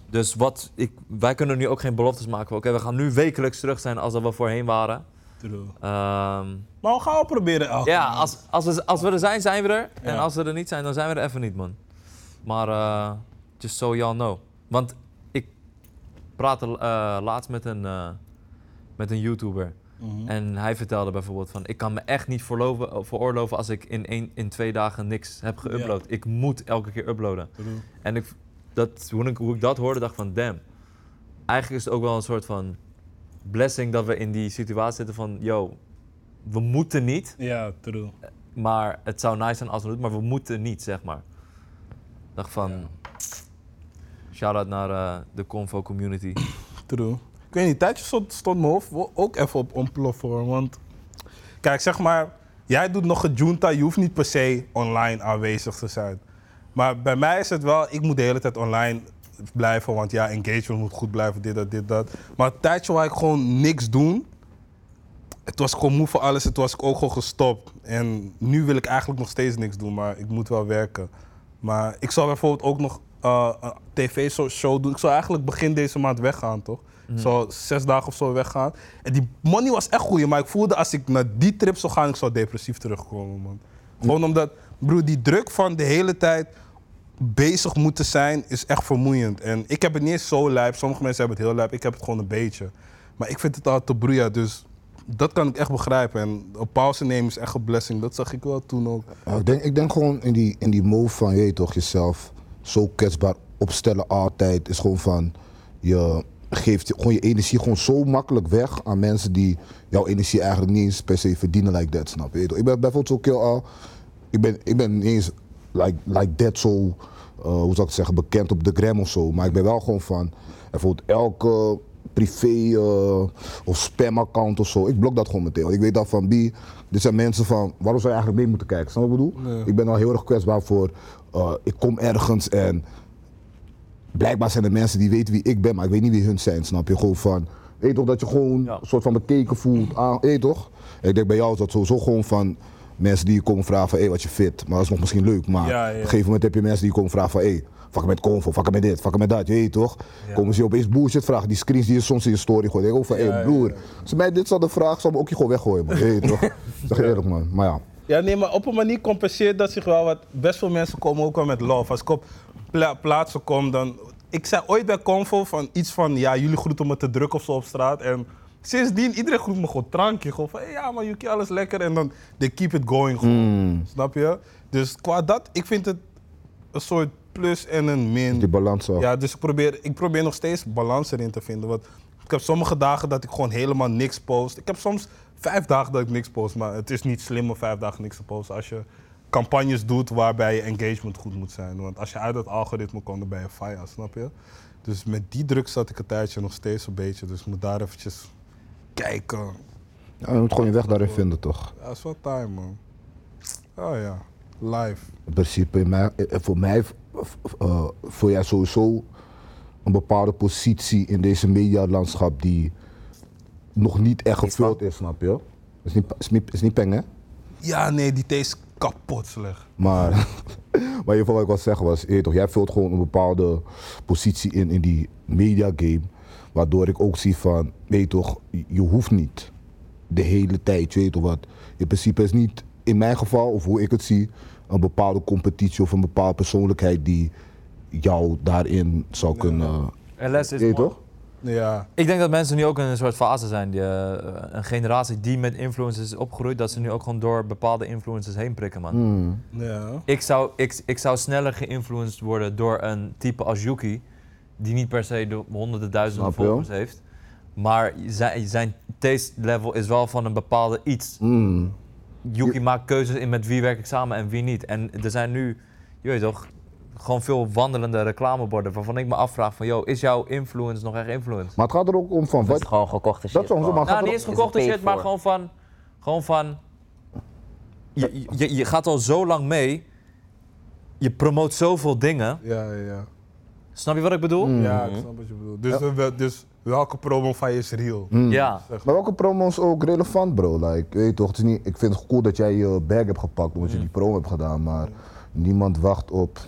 D: Dus wat ik, wij kunnen nu ook geen beloftes maken. van, Oké, we gaan nu wekelijks terug zijn als dat we voorheen waren.
A: True.
D: Ehm,
A: Maar we gaan wel proberen elke
D: ja,
A: maand.
D: als, als, we, als we er zijn, zijn we er. En
A: Ja.
D: als we er niet zijn, dan zijn we er even niet, man. Maar eh, just so y'all know. Want ik praatte eh, laatst met een, eh, met een YouTuber.
A: Hm. Mhm.
D: En hij vertelde bijvoorbeeld van... Ik kan me echt niet voorloven, veroorloven als ik in, één, in twee dagen niks heb geüpload. Ik moet elke keer uploaden.
A: True.
D: En ik, dat, hoe, ik, hoe ik dat hoorde, dacht ik van damn. Eigenlijk is het ook wel een soort van blessing dat we in die situatie zitten van... Yo, we moeten niet.
A: Ja, true.
D: Maar het zou nice zijn als we het doen, maar we moeten niet, zeg maar. Ik dacht van. Shout-out naar eh, de Convo community.
A: True. Ik weet niet, een tijdje stond, stond mijn hoofd wel ook even op ontploffen hoor. Want kijk, zeg maar, Jij doet nog gejunta, je hoeft niet per se online aanwezig te zijn. Maar bij mij is het wel, ik moet de hele tijd online blijven, want ja, engagement moet goed blijven, dit, dat, dit, dat. Maar het tijdje waar ik gewoon niks doen, het was gewoon moe voor alles, het was ik ook gewoon gestopt. En nu wil ik eigenlijk nog steeds niks doen, maar ik moet wel werken. Maar ik zal bijvoorbeeld ook nog eh, een tv-show doen. Ik zou eigenlijk begin deze maand weggaan, toch? Zo zes dagen of zo weggaan. En die money was echt goeie, maar ik voelde als ik naar die trip zou gaan, ik zou depressief terugkomen, man. Gewoon omdat, broer, die druk van de hele tijd bezig moeten zijn is echt vermoeiend. En ik heb het niet eens zo lijp. Sommige mensen hebben het heel lijp. Ik heb het gewoon een beetje. Maar ik vind het altijd te broeia. Dus dat kan ik echt begrijpen. En een pauze nemen is echt een blessing. Dat zag ik wel toen ook.
B: Ja, ik, denk, ik denk gewoon in die, in die move van je weet toch jezelf zo kwetsbaar opstellen altijd. Is gewoon van je geeft je- gewoon je energie gewoon zo makkelijk weg aan mensen die jouw energie eigenlijk niet eens per se verdienen like that, snap je? je? weet toch? Ik ben bijvoorbeeld zo kill al. Ik ben, ik ben niet eens like, like that zo, eh, hoe zou ik het zeggen, bekend op de gram of zo. Maar ik ben wel gewoon van, bijvoorbeeld elke privé eh, of spamaccount of zo. Ik blok dat gewoon meteen. Want ik weet dat van wie. Dit zijn mensen van waarom zou je eigenlijk mee moeten kijken. Snap je wat ik bedoel? Ik ben al heel erg kwetsbaar voor. eh, ik kom ergens en blijkbaar zijn er mensen die weten wie ik ben, maar ik weet niet wie hun zijn. Snap je? Gewoon van. Weet je toch dat je gewoon een soort van bekeken voelt. Aan, weet je toch? En ik denk bij jou is dat sowieso gewoon van. Mensen die je komen vragen van, hé, wat je fit. Maar dat is nog misschien leuk, maar
A: Ja, ja.
B: op een gegeven moment heb je mensen die je komen vragen van, hé, hey, fuck met comfort, fuck met dit, fuck met dat, je weet toch? Komen ze je opeens bullshit vragen, die screens die je soms in je story gooit. Ik denk ook van, hé, broer, als mij dit zal de vraag, zal me ook je gewoon weggooien, man. Je
A: (laughs)
B: weet toch? Zeg eerlijk, man. Maar ja.
A: Ja, nee, maar op een manier compenseert dat zich wel. Want best veel mensen komen ook wel met love. Als ik op pla- plaatsen kom, dan... Ik zei ooit bij Convo van iets van... Ja, jullie groeten me te druk of zo op straat. En sindsdien, iedereen groet me gewoon drankje. Gewoon van, hey, ja, maar Yuki, alles lekker. En dan, they keep it going gewoon. Snap je? Dus qua dat, ik vind het een soort plus en een min.
B: Die balans af.
A: Ja, dus ik probeer, ik probeer nog steeds balans erin te vinden. Want ik heb sommige dagen dat ik gewoon helemaal niks post. Ik heb soms vijf dagen dat ik niks post. Maar het is niet slim om vijf dagen niks te posten. Als je campagnes doet waarbij je engagement goed moet zijn. Want als je uit dat algoritme komt, dan ben je fire, snap je? Dus met die druk zat ik een tijdje nog steeds een beetje. Dus ik moet daar eventjes kijken.
B: Ja, eh, je moet gewoon je weg daarin vinden, toch?
A: Ja, dat is wel time, man. Oh ja, live.
B: In principe, in mij- eh, voor mij eh, voel jij sowieso een bepaalde positie in deze medialandschap die nog niet echt gevuld is, snap je? Is niet, is niet, is niet peng, hè?
A: Ja, nee, die thee is kapot slecht.
B: Maar, (laughs) maar in ieder geval wat ik wil zeggen was, je weet toch, jij vult gewoon een bepaalde positie in in die media game, waardoor ik ook zie van, weet je toch, je hoeft niet de hele tijd, je weet toch wat. In principe is niet, in mijn geval of hoe ik het zie, een bepaalde competitie of een bepaalde persoonlijkheid die jou daarin zou kunnen.
D: En les is
B: je weet
D: mooi.
B: toch?
A: Ja.
D: Ik denk dat mensen nu ook in een soort fase zijn. Die, eh, een generatie die met influencers is opgegroeid, dat ze nu ook gewoon door bepaalde influencers heen prikken, man.
B: Hmm.
A: Ja.
D: Ik, zou, ik, ik zou sneller geïnfluenced worden door een type als Yuki, die niet per se de honderden duizenden
B: Snap je wel.
D: volgers heeft. Maar zijn, zijn taste level is wel van een bepaalde iets.
B: Mm.
D: Yuki maakt keuzes in met wie werk ik samen en wie niet. En er zijn nu, je weet toch, gewoon veel wandelende reclameborden waarvan ik me afvraag van, yo, is jouw influence nog echt influence?
B: Maar het gaat er ook om van
E: Dat is
B: wat.
E: gewoon gekochte shit.
B: is gewoon
E: gewoon.
B: zomaar-
D: Nou, niet eens
E: Is er
D: gekochte
E: paid
D: shit, maar
E: voor?
D: gewoon van. Gewoon van. Je, je, je gaat al zo lang mee. Je promoot zoveel dingen.
A: Ja, ja.
D: Snap je wat ik bedoel?
A: Ja,
B: Mhm.
A: ik snap wat je bedoelt. Dus, wel- dus welke promo van je is real?
B: Mhm.
D: Ja.
B: Maar welke promo is ook relevant, bro? Like, je weet toch, het is niet, ik vind het cool dat jij je bag hebt gepakt
A: Mm.
B: omdat je die promo hebt gedaan, maar niemand wacht op.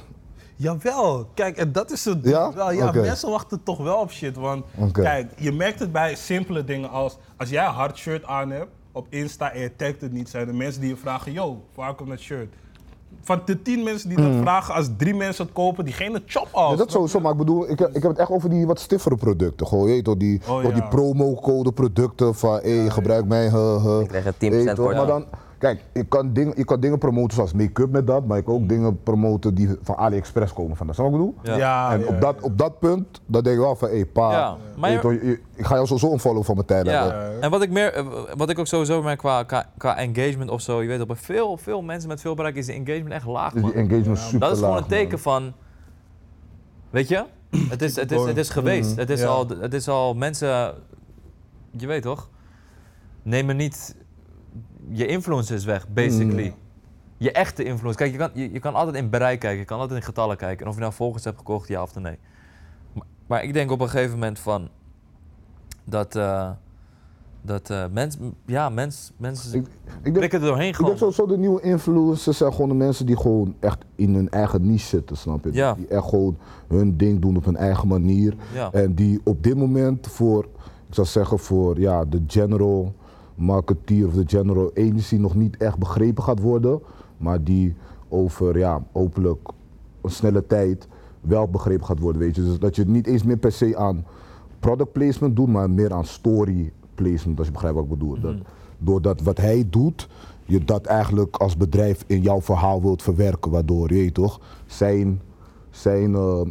A: Jawel, kijk, en dat is het.
B: Ja?
A: wel, ja
B: Oké.
A: Mensen wachten toch wel op shit. Want
B: Oké.
A: kijk, je merkt het bij simpele dingen als als jij een hard shirt aan hebt op Insta en je tagt het niet, zijn de mensen die je vragen: yo, waar komt dat shirt? Van de tien mensen die dat vragen, als drie mensen het kopen, diegene chop al.
B: Mhm. Ja, dat sowieso, maar ik bedoel, ik, ik heb het echt over die wat stiffere producten. Gewoon, je weet toch, die,
A: Oh,
B: toch die
A: ja.
B: promocode producten van, hé, gebruik mij, huh, huh.
E: krijg er 10%
B: Weet je toch,
E: voor, ja.
B: Maar dan, kijk, je kan, ding, je kan dingen promoten zoals make-up met dat, maar je kan ook dingen promoten die van AliExpress komen van dat. Snap je wat ik bedoel?
A: Mm. ja, Ah, ja,
B: en op, dat, op dat punt, dan denk ik wel van, hé, pa,
D: Ja, maar
B: weet
D: je-
B: toch, je- je- ik ga jou sowieso unfollow van mijn tijd. hebben.
D: Ja. En wat ik, meer, eh, wat ik ook sowieso merk qua, qua, qua engagement of zo. Je weet op veel, veel mensen met veel bereik is de engagement echt laag.
B: Dus
D: man.
B: die engagement super
D: Dat is gewoon
B: laag,
D: een teken van. Weet
B: (clears throat)
D: je? Het is, het is, het is geweest.
B: mm,
D: Het is,
A: Ja.
D: al, het is al. Mensen. Je weet toch? Nemen niet je influence is weg,
B: Mm.
D: basically. Je echte influence. Kijk, je kan, je, je kan altijd in bereik kijken, je kan altijd in getallen kijken. En of je nou volgers hebt gekocht, ja of nee. Maar, maar ik denk op een gegeven moment van... Dat... eh dat eh mensen... Ja, mens, mensen
B: Ik, ik denk,
D: prikken er doorheen
B: ik denk
D: gewoon.
B: sowieso de nieuwe influencers zijn gewoon de mensen die gewoon echt in hun eigen niche zitten, snap je?
D: Ja.
B: Die echt gewoon hun ding doen op hun eigen manier.
D: Ja.
B: En die op dit moment voor, ik zou zeggen voor ja, de general marketeer of de general agency nog niet echt begrepen gaat worden. Maar die over, ja, hopelijk een snelle tijd wel begrepen gaat worden, weet je. Dus dat je het niet eens meer per se aan product placement doet, maar meer aan story placement, als je begrijpt wat ik bedoel. Dat, doordat wat hij doet, je dat eigenlijk als bedrijf in jouw verhaal wilt verwerken, waardoor, je weet toch, zijn, zijn eh,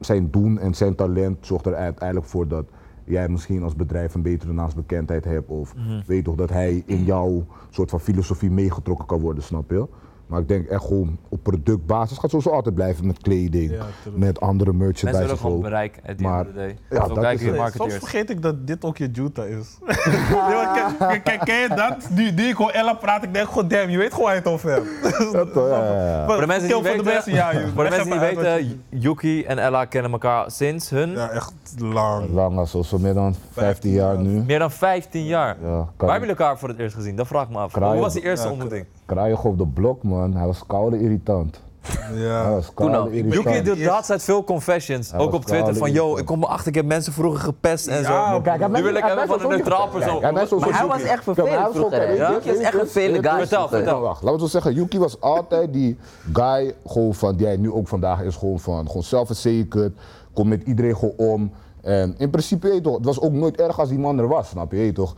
B: zijn doen en zijn talent zorgt er uiteindelijk voor dat jij misschien als bedrijf een betere naamsbekendheid hebt. Of
A: Mhm.
B: weet toch dat hij in jouw soort van filosofie meegetrokken kan worden, snap je? Maar ik denk echt gewoon op productbasis gaat sowieso altijd blijven met kleding,
A: Ja, tuurlijk.
B: met andere merchandise.
D: Mensen willen
B: of
D: gewoon
B: zo.
D: bereik, at the end
B: Maar-
D: of the day.
B: ja, dat
D: Zo kijken
B: is
D: die
A: Soms
B: het.
D: marketeers.
A: vergeet ik dat dit ook je Juta
B: (laughs)
A: is. (laughs) Nee, maar ken- ken, ken- ken je dat? Nu die ik hoor Ella praat, ik denk gewoon damn, je weet gewoon waar je het over hebt. (laughs)
B: Dat, eh, ja, ja, ja.
A: Voor
D: Voor de mensen die
A: voor de
D: niet weten,
A: mensen, (laughs) ja, joh.
D: (laughs) voor de
A: Leg
D: mensen die
A: even uit wat je-
D: weten, Yuki en Ella kennen elkaar sinds hun
A: Ja, echt lang.
B: Lang als zo, zo meer dan 15 jaar nu.
D: meer dan 15 jaar.
B: Ja, kan
D: Waar
B: je-
D: hebben jullie elkaar voor het eerst gezien? Dat vraag ik me af.
B: Kraaien.
D: Hoe was die eerste ontmoeting?
B: Kraaiig op de blok, man. Hij was koude irritant. Hij
A: Ja.
B: was koude
D: al.
B: irritant.
D: Yuki doet
A: Eerst-
D: de laatste tijd veel confessions.
B: Hij
D: ook
B: was
D: op Twitter
B: koude
D: van,
B: irritant.
D: yo, ik kom erachter, ik heb mensen vroeger gepest en
A: Ja,
D: zo.
A: maar kijk,
D: nu wil ik hebben
B: hebben
D: van een neutraal
B: Ja,
D: persoon.
B: hij is
D: Maar
B: zo-
E: Maar hij
B: Yuki.
E: was echt
B: Kijk, maar hij
E: vervelend
B: was gewoon-
E: vroeger. hè?
B: Ja,
E: Yuki is echt een vervelende guy.
D: Vertel,
E: vroeger.
D: vertel.
B: Nou, wacht, laten we het zo zeggen. Yuki was altijd die guy gewoon van, die hij nu ook vandaag is, gewoon van, gewoon zelfverzekerd, komt met iedereen gewoon om. En in principe, je weet toch, het was ook nooit erg als die man er was, snap je, je weet toch?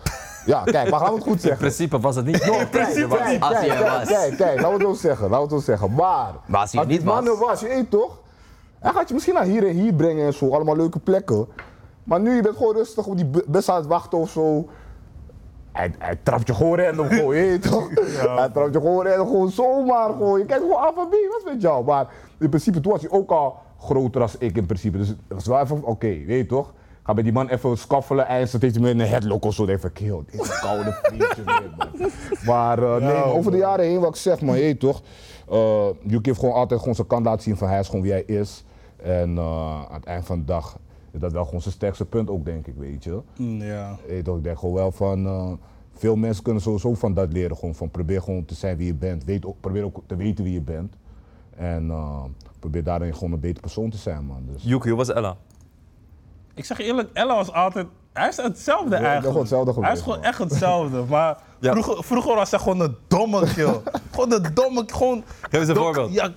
B: Ja, kijk, maar gaan we het goed
D: In
B: zeggen.
D: principe was het niet. In
B: Kijk, kijk,
E: Als hij er
B: kijk,
E: was.
B: Kijk, kijk, laten we het ons zeggen, laten we het ons zeggen. Maar,
E: Maar als hij er
B: die
E: niet
B: man
E: was.
B: er was, je weet toch? Hij gaat je misschien naar hier en hier brengen en zo, allemaal leuke plekken. Maar nu, je bent gewoon rustig op die bu- bus aan het wachten of zo. Hij, hij trapt je gewoon random gewoon, je weet toch? Hij trapt je gewoon random gewoon zomaar gewoon. Je kijkt gewoon af van B, wat is met jou? Maar in principe, toen was hij ook al groter als ik in principe. Dus het was wel even, oké, je weet toch? Ga bij die man even scaffelen en ze heeft hij me in een headlock of zo. Dan even kill. Dit is een koude vriendje weer, man. Maar eh, nee, maar over de jaren heen, wat ik zeg, maar je weet toch? eh Yuki heeft gewoon altijd gewoon zijn kant laten zien van hij is gewoon wie hij is. En eh, aan het eind van de dag is dat wel gewoon zijn sterkste punt ook, denk ik, weet je.
A: mm, Ja.
B: Weet je toch, ik denk gewoon wel van. eh, veel mensen kunnen sowieso van dat leren. Gewoon van probeer gewoon te zijn wie je bent. Weet ook, probeer ook te weten wie je bent. En eh, probeer daarin gewoon een beter persoon te zijn, man. Dus.
D: Yuki, hoe was Ella?
A: Ik zeg je eerlijk, Ella was altijd. Hij is hetzelfde
B: ben
A: eigenlijk.
B: gewoon hetzelfde
A: hij is
B: gebleven,
A: gewoon
B: man.
A: echt hetzelfde.
B: (laughs)
A: Maar
D: Ja.
A: vroeger, vroeger was hij gewoon een domme kill. gewoon een domme. Gewoon,
D: Geef eens een voorbeeld.
A: (laughs) ja,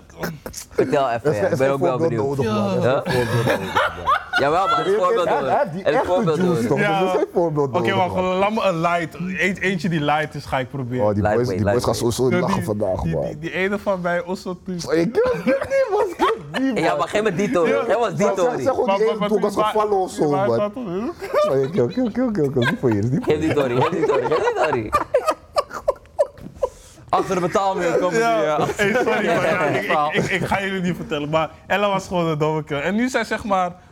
E: Vertel even, ja. ik ben ook wel benieuwd.
B: nodig, man. Er is
E: Ja.
B: geen voorbeeld nodig, man.
E: Jawel, maar het
B: Hij-
E: voorbeeld
B: hij- hij heeft
E: doen.
B: die
E: Het
B: echte
E: voorbeeld
B: juice
E: doen.
B: toch?
A: Ja.
B: Er is geen voorbeeld
A: Oké,
B: nodig,
A: maar
B: man.
A: gewoon laat me een light. Eent- eentje die light is, ga ik proberen.
B: Oh, die boys, die
E: Lightweight,
B: boys gaan
E: lightweight.
B: sowieso
A: die,
B: lachen vandaag,
A: die, die,
B: man.
A: die ene van bij Oslo toen.
B: Ik (laughs) kan niet, man. Ik kan niet, man.
E: Ja, maar geef me die toren. Dat was die
B: Zeg-
E: toren.
B: Zeg gewoon
A: Maar-
B: die
A: maar-
B: ene
A: maar-
B: doek was
A: maar-
B: gevallen of zo,
A: maar-
B: man.
A: maar- maar-
B: Kill, kill, kill, kill, kill. Dat is niet voor je, dat is niet voor
E: Geef
B: je.
E: die toren, geef die toren, geef die toren.
D: Achter de betaalmuur komen jullie.
A: Ja.
D: eh,
A: Hey,
E: (laughs)
A: sorry, maar ja, ik, ik, ik, ik ga jullie niet vertellen. Maar Ella was gewoon een domme kill. En nu zijn zeg maar.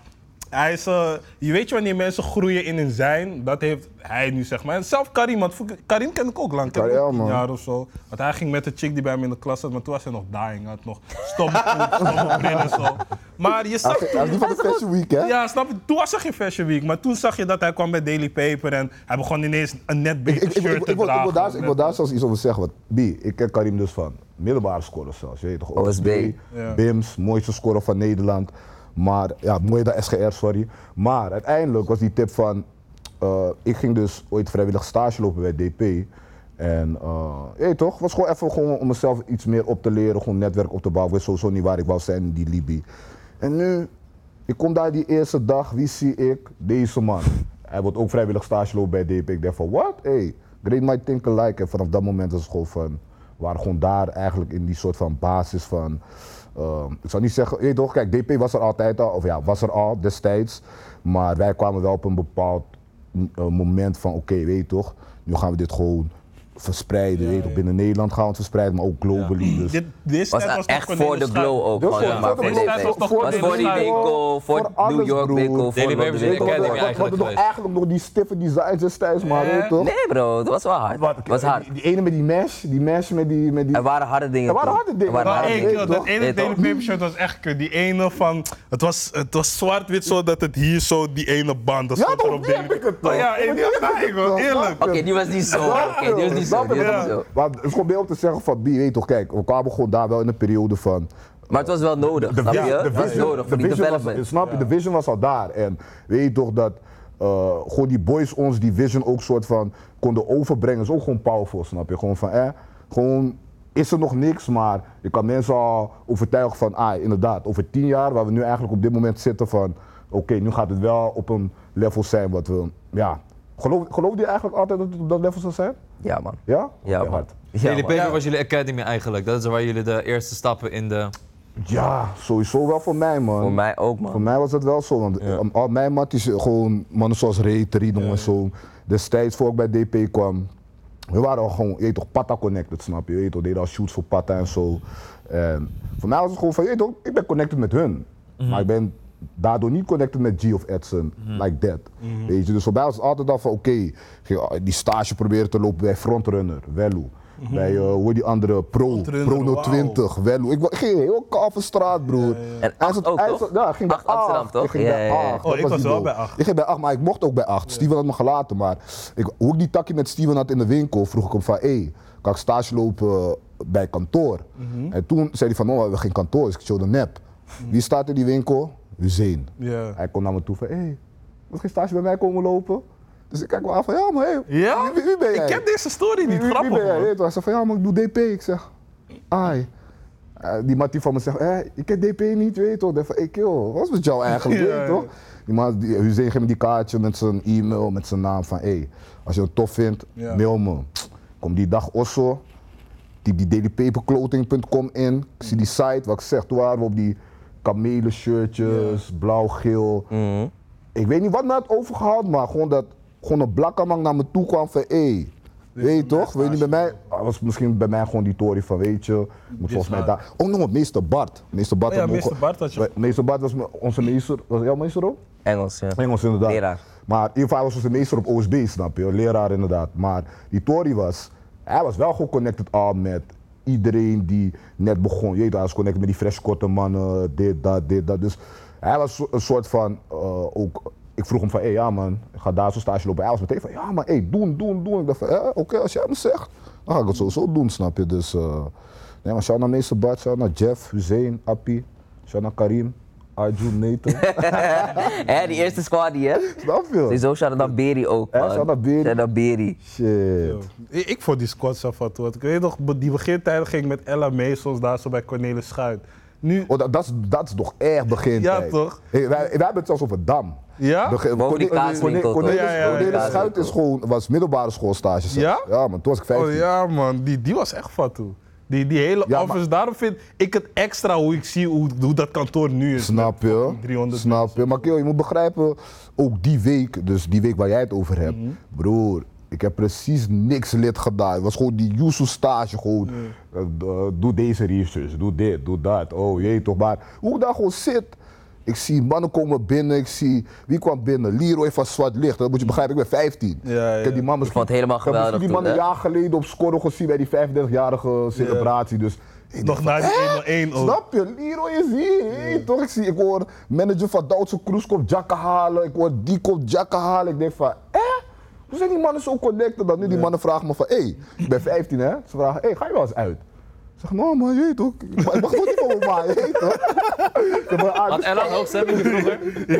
A: Hij is, eh, je weet je wanneer mensen groeien in hun zijn, dat heeft hij nu zeg maar. En zelf Karim, want voor- Karim ken ik ook lang, ken ik
B: Karim,
A: ook een
B: man.
A: jaar of zo. Want hij ging met de chick die bij hem in de klas zat, maar toen was hij nog dying, hij had nog stomme (laughs) poep, stomme bril en zo. Maar je snapt
B: Dat is niet van de Fashion Week, hè?
A: ja, snap je? Toen was er geen Fashion Week, maar toen zag je dat hij kwam bij Daily Paper en hij begon ineens een net
B: Ik-
A: beter
B: ik- ik- ik-
A: shirt te
B: ik wil- Ik wil
A: dragen.
B: daar- ik wil daar zelfs iets over zeggen. Want B, ik ken Karim dus van middelbare scoren zelfs. Je weet toch?
E: OSB.
A: Ja.
B: BIMS, mooiste scorer van Nederland. Maar, ja, mooie dan SGR, sorry. Maar uiteindelijk was die tip van... eh, ik ging dus ooit vrijwillig stage lopen bij DP. En, eh je weet toch, was gewoon even gewoon om mezelf iets meer op te leren. Gewoon netwerk op te bouwen. Ik wist sowieso niet waar ik wou zijn in die Libië. En nu, ik kom daar die eerste dag, wie zie ik? Deze man. Hij wordt ook vrijwillig stage lopen bij DP. Ik denk van, wat? Hey, great my think alike. En vanaf dat moment was het gewoon van, we waren gewoon daar eigenlijk in die soort van basis van, ehm, ik zou niet zeggen, je weet toch, kijk, DP was er altijd al, of ja, was er al destijds. Maar wij kwamen wel op een bepaald eh, moment van, oké, weet je toch, nu gaan we dit gewoon verspreiden. weet je toch, Binnen Nederland gaan we het verspreiden, maar ook globally. Dus.
A: Dit, dit
E: Was
A: net
E: nou
A: nog
E: echt voor de
A: Cornelis Schuit.
E: glow ook.
B: Dit
E: gewoon, ja,
B: was voor
E: maar
B: de
E: voor
B: glow.
E: dit,
A: Dit was toch
E: nee. Was
A: Cornelis
E: voor die
A: Schuit.
E: winkel, voor
B: Voor
E: New
B: alles,
E: York
B: broer.
E: winkel, voor
D: Daily
E: London
D: Babes
B: Weet
E: winkel.
B: je toch, we
D: Academy
B: hadden
D: eigenlijk
B: nog
D: geweest.
B: eigenlijk nog die stiffe designs destijds, maar weet je toch?
E: Nee bro, dat was wel hard.
B: Wat-
E: was hard.
B: Die, die ene met die mesh, die mesh met die... Met die
E: Er waren harde dingen.
B: Er waren
E: toen.
B: harde dingen,
E: Er waren
B: maar
A: Maar
E: harde
B: ik-
A: hey,
E: dingen.
A: kill, dat
B: toch?
A: ene
E: Weet
A: Daily
E: toch?
A: Paper shirt was echt kut. Die ene van. Het was, het was zwart-wit zo dat het hier zo die ene band. Dat
B: Ja,
A: stond
B: toch?
A: erop,
B: Die
A: Daily
B: heb ik het
A: Paper.
B: toch?
A: Ja, hey, die had
B: Die heb
A: ik
B: ik
A: wel,
B: het toch?
A: eerlijk.
E: Oké, die was niet zo. Oké, die was niet zo.
B: Snap
E: Die
B: je?
E: was
A: Ja.
E: niet zo.
B: Maar het is gewoon meer om te zeggen van, wie weet toch, kijk, we kwamen gewoon daar wel in een periode van...
E: Maar het was wel nodig, snap je?
B: ja,
E: Het was nodig voor die
B: vision
E: development.
B: Was, snap je, de vision was al daar. En weet je toch dat eh, gewoon die boys ons die vision ook soort van konden overbrengen. is ook gewoon powerful, snap je? Gewoon van, eh, gewoon is er nog niks, maar je kan mensen al overtuigen van, ah, inderdaad, over tien jaar, waar we nu eigenlijk op dit moment zitten van, oké, nu gaat het wel op een level zijn wat we, ja. Geloof, geloof je eigenlijk altijd dat het op dat level zal zijn?
E: Ja man.
B: Ja?
E: Ja
B: Oké,
E: man.
B: hard.
E: Ja,
D: jullie
E: man.
D: Baby was jullie academy eigenlijk. Dat is waar jullie de eerste stappen in de...
B: Ja, sowieso wel voor mij, man.
E: Voor mij ook man.
B: Voor mij was dat wel zo, want um, al mijn matties, eh, gewoon mannen zoals Ray, Rino en zo, destijds voor ik bij DP kwam, we waren al gewoon, je weet toch, Pata connected, snap je? Je weet toch, deden al shoots voor Pata en zo. En voor mij was het gewoon van, je weet toch, ik ben connected met hun,
A: Mhm.
B: maar ik ben daardoor niet connected met G of Edson, like that.
A: Mhm.
B: Weet je, dus voor mij was het altijd al van, oké, ik ging, ah, die stage proberen te lopen bij Frontrunner, Wello. Bij, eh, hoe heet die andere, Pro,
A: Mhm. Frontrunner,
B: Pro
A: wauw.
B: 020, Wello. Ik wa- ik ging heel straat, broer.
E: En
B: Hij
E: acht
B: zat-
E: ook
B: hij
E: Oh, toch?
B: zat- Ja, ik ging
E: Acht
B: bij
E: Amsterdam,
B: acht.
E: toch?
B: Ik ging bij
E: Ja, ja, ja.
A: eh,
B: acht.
A: Oh,
B: Dat
A: ik was
B: die
A: wel
B: doel.
A: bij acht.
B: Ik ging bij acht, maar ik mocht ook bij acht. Steven had me gelaten, maar ik, hoe ik die takje met Steven had in de winkel, vroeg ik hem van, hé, kan ik stage lopen eh, bij kantoor?
A: Mhm.
B: En toen zei hij van, oh, we hebben geen kantoor, dus ik showde nep. Wie staat in die winkel? Hussein.
A: Ja.
B: Hij komt naar me toe van, hé, hey, wil je geen stage bij mij komen lopen? Dus ik kijk me aan van, ja, maar hé,
A: Ja?
B: wie, wie ben jij?
A: Ik ken deze story niet.
B: Wie- wie- wie
A: Grappig.
B: ben jij?
A: man.
B: Weet je wel. Hij zei van ja, maar ik doe DP. Ik zeg, ai. Eh, die mattie van me zegt, eh, ik ken DP niet, weet je toch? Ik van, ik joh, wat is met
A: (laughs)
B: jou eigenlijk,
A: Ja,
B: weet je
A: ja.
B: toch? Die man, die, Hussein geeft me die kaartje met zijn e-mail, met zijn naam van, hé, als je het tof vindt,
A: Ja.
B: mail me. Kom die dag Osso, typ die dailypaperclothing.com in, ik zie die site, wat ik zeg, toen waren we op die kamelen shirtjes, blauw-geel. Ik weet niet wat me had overgehaald, maar gewoon dat gewoon een blakkerman naar me toe kwam van hé. weet je toch? Weet je niet bij mij? Ah, was misschien bij mij gewoon die tory van weet je. Moet volgens mij
A: gaat.
B: daar. Oh nog wat, meester Bart. Meester Bart,
A: Oh ja,
B: had me ook
A: meester
B: ge-
A: Bart had je-
B: Wij- Meester Bart was me- onze meester. Was jouw meester ook?
E: Engels, ja.
B: Engels inderdaad.
E: Leraar.
B: Maar in ieder geval hij was onze meester op OSB, snap je? Leraar inderdaad. Maar die Tory was, hij was wel gewoon connected al met iedereen die net begon. Je weet, hij was connected met die fresh korte mannen, dit, dat, dit, dat. Dus hij was zo- een soort van, eh, ook, ik vroeg hem van, hé ja man, ik ga daar zo'n stage lopen. Hij was meteen van, ja man, hé, doen, doen, doen. Ik dacht van, eh, oké, als jij me zegt, dan ga ik het sowieso doen, snap je? Dus, eh, nee, maar shout naar meester Bart, shout naar Jeff, Hussein, Appie, shout naar Karim, Arjun, Nathan.
E: Hè, die eerste squad die hè.
B: snap je?
E: Sowieso shout-out naar Beri ook
B: Hè,
E: man.
B: shout-out naar Beri.
E: Shout-out naar Beri.
B: Shit.
A: Ik ik vond die squad zo wat. wat- Ik weet nog, be- die begintijd ging ik met Ella Meesels daar zo bij Cornelis Schuit. Nu,
B: Oh, dat, dat, is, dat is toch erg begin.
A: Ja, toch?
B: Hey, wij, wij hebben het zelfs over Dam.
A: Ja?
B: Begin-
E: Boven die
B: Corne-
E: kaaswinkel,
B: Corne-
A: toch?
B: Cornelis
A: Ja, ja, ja,
B: Cornelis
A: ja.
B: Schuit is gewoon, was middelbare schoolstage. zelfs.
A: Ja?
B: Ja, maar toen was ik 15.
A: oh ja man, die, die was echt fat toe. Die, die hele
B: Ja,
A: office, daarom vind ik het extra hoe ik zie hoe, hoe dat kantoor nu is.
B: Snap je?
A: 300
B: Snap je? Maar Keel, je moet begrijpen, ook die week, dus die week waar jij het over hebt,
A: Mhm.
B: broer. Ik heb precies niks lid gedaan. Het was gewoon die Yusu stage.
A: Mhm.
B: Gewoon, eh, eh, doe deze research, doe dit, doe dat. Oh jee toch. Maar hoe ik daar gewoon zit. Ik zie mannen komen binnen. Ik zie, wie kwam binnen? Leroy van Zwart Licht. Dat moet je begrijpen, ik ben 15.
A: Ja,
B: Ik heb die man misschien,
E: vond het helemaal
B: ik heb misschien
E: geweldig
B: die man
E: toen,
B: een
E: hè?
B: jaar geleden op score gezien bij die 35-jarige celebratie. Dus ik
A: Nog na die 101 ook.
B: Snap je? Leroy is hier. hé, toch? Ik, zie, ik hoor manager van Duitse Kroes komt jakken halen. Ik hoor die komt jakken halen. Ik denk van, hè? Hoe zijn die mannen zo connected dat nu die mannen vragen me van, hé, hey, ik ben 15 hè? Ze vragen, hé, ga je wel eens uit? Ik zeg, nou man, je weet toch? Ik mag toch niet van me maar, je weet toch? Ik zeg van, ah,
D: Had
B: dus-
D: Ella ook stemming vroeger?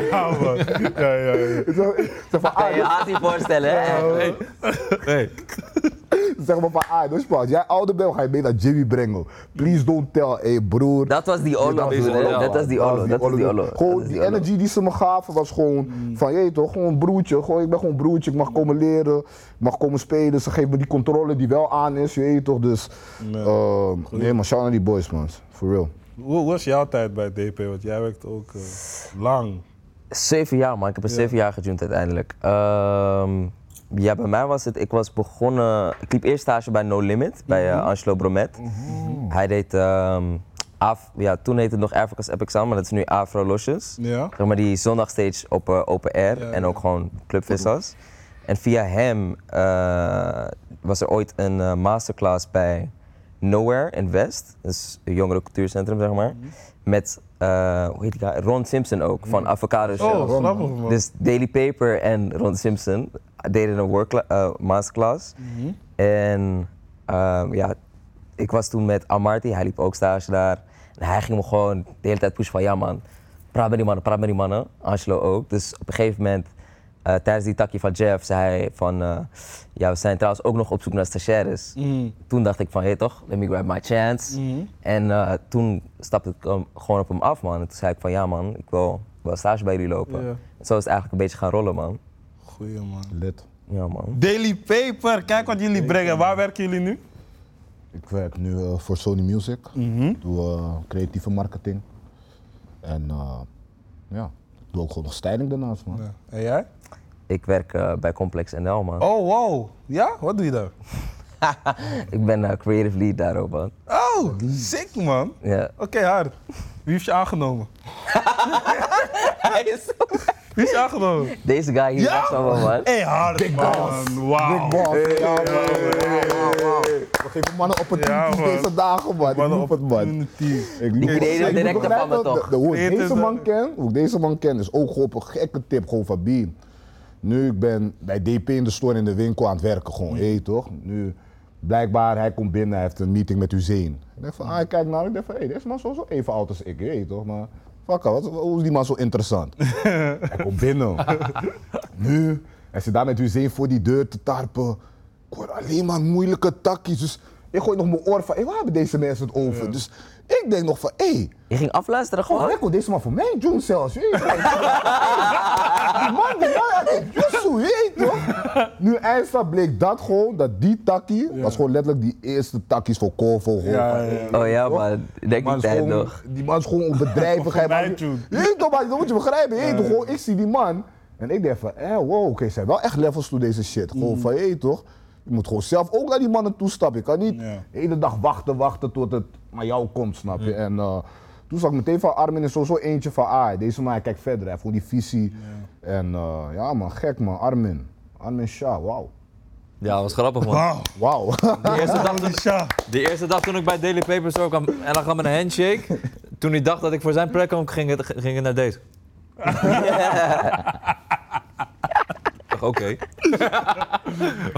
A: Ja man. Ja, ja, ja.
B: ik zeg- ik zeg van, ah,
E: Kan je je
B: dus-
E: haast niet voorstellen hè.
D: Hey. Hey.
B: ik zeg maar van, ah, dus pas, jij ouder bent, ga je mee naar Jimmy brengen. Please don't tell, hé broer.
E: Dat was die Olo
B: is
E: toen hè.
D: Olo.
E: Dat was die Olo. Dat was die Olo. Dat
B: Gewoon
E: was
B: die Mm.
E: Olo.
B: energy die ze me gaven was gewoon van, je weet toch, gewoon broertje. Gewoon, ik ben gewoon broertje, ik mag komen leren, ik mag komen spelen. Ze geven me die controle die wel aan is, je weet toch. Dus, ehm, nee man, shout naar die boys man, for real.
A: Hoe hoe was jouw tijd bij DP? Want jij werkt ook eh, lang.
E: Zeven jaar, man. Ik heb er zeven jaar getuned uiteindelijk. Ehm,
C: Ja, bij mij was het, ik was begonnen, ik liep eerst stage bij No Limit, bij
A: Mhm.
C: eh, Angelo Bromet. Hij deed, ehm, Af- ja, toen heette het nog Africa's Epic Sound, maar dat is nu Afro Losjes.
A: Ja.
C: Zeg maar die zondagstage op eh, Open Air
A: Ja,
C: en
A: ja.
C: ook gewoon Club Vissas. En via hem eh, was er ooit een eh, masterclass bij Nowhere in West, dus een jongerencultuurcentrum zeg maar.
A: Mhm.
C: Met, eh, hoe heet die guy? Ron Simpson ook, van Avocado Show.
A: Oh, grappig man.
C: Dus Daily Paper en Ron Simpson deden een workla- eh, masterclass.
A: Mhm.
C: En ehm, ja, ik was toen met Amarty, hij liep ook stage daar. En hij ging me gewoon de hele tijd pushen van, ja man, praat met die mannen, praat met die mannen. Angelo ook. Dus op een gegeven moment, eh, tijdens die takje van Jeff, zei hij van, eh, ja we zijn trouwens ook nog op zoek naar stagiaires.
A: Mhm.
C: Toen dacht ik van, hé toch, let me grab my chance. En eh, toen stapte ik hem gewoon op hem af man. En toen zei ik van, ja man, ik wil, ik wil stage bij jullie lopen.
A: Ja.
C: En zo is het eigenlijk een beetje gaan rollen man.
A: Goeie man.
B: Lid.
C: Ja man.
A: Daily Paper, kijk wat jullie brengen. Waar werken jullie nu?
B: Ik werk nu eh, voor Sony Music. Doe eh, creatieve marketing. En eh, ja, ik doe ook gewoon nog styling daarnaast, man.
A: En jij?
C: Ik werk eh, bij Complex NL man.
A: Oh, wow. Ja? Wat doe je daar?
C: Ik ben eh, creative lead daar ook man.
A: Oh, sick man.
C: Ja.
A: Oké, hard. Wie heeft je aangenomen? Wie is je aangenomen?
C: Deze guy hier
A: Ja?
C: ja? wel man.
A: Hé, hey, hard man. Wauw.
B: Big boss. Ja, man. We geven mannen opportunities
A: Ja, man.
B: deze dagen, man.
A: Wat
B: Ik
A: een
B: roep het, man.
A: opportunity.
B: Ik moet-
C: Die creëren
B: ik moet
C: direct
B: begrijpen
C: van me,
B: dat-
C: toch?
B: dat- Hoe ik
A: Dit is
B: deze
A: een-
B: man ken, hoe ik deze man ken, is ook gewoon op een gekke tip gewoon van Bean. Nu, ik ben bij DP in de store in de winkel aan het werken gewoon, hé toch? Nu, blijkbaar, hij komt binnen, hij heeft een meeting met Hussein. Ik denk van, ah, ik kijk naar, ik denk van, hé, hey, deze man is zo even oud als ik, hé toch? Maar, fuck, wat, hoe is die man zo interessant? hij komt binnen. Nu, hij zit daar met Hussein voor die deur te tarpen. Ik hoor alleen maar moeilijke takjes. Dus ik gooi nog mijn oor van, hé, waar hebben deze mensen het over? Dus ik denk nog van, hé, hey,
C: Je ging afluisteren
B: oh,
C: gewoon.
B: lekker, deze man voor mij, June zelfs. weet je wel. Die man, die man, had een jutsu, weet je toch? Nu eindstand bleek dat gewoon, dat die takkie, was gewoon letterlijk die eerste takkies voor Corvo. gewoon
A: Ja,
B: van,
A: ja,
B: hé,
A: ja.
C: Oh ja
B: toch?
C: man, denk
B: man
C: die
B: is
C: tijd
B: gewoon-
C: nog.
B: Die man is gewoon op bedrijvigheid.
A: Voor mij,
B: man.
A: June.
B: Je weet toch, maar dat moet je begrijpen. Je weet toch, gewoon, ik zie die man en ik denk van, eh, wow, oké, ze zijn wel echt levels toe deze shit. Gewoon
A: Mm.
B: van, hé toch, je moet gewoon zelf ook naar die mannen toe stappen. Je kan niet
A: Ja.
B: de hele dag wachten, wachten tot het naar jou komt, snap je. En eh, toen zag ik meteen van Armin is sowieso eentje van, ah, deze man, hij kijkt verder, hij heeft gewoon die visie. En eh, ja man, gek man, Armin. Armin Shah, wauw.
D: Ja, dat was grappig man.
A: Wauw.
B: Wauw. (laughs)
D: De eerste dag,
A: Holy shit.
D: de eerste dag toen ik bij Daily Paper Store kwam en dan gaf me een handshake. Toen hij dacht dat ik voor zijn plek kwam, ging het, ging het naar deze. Ik dacht, Oké.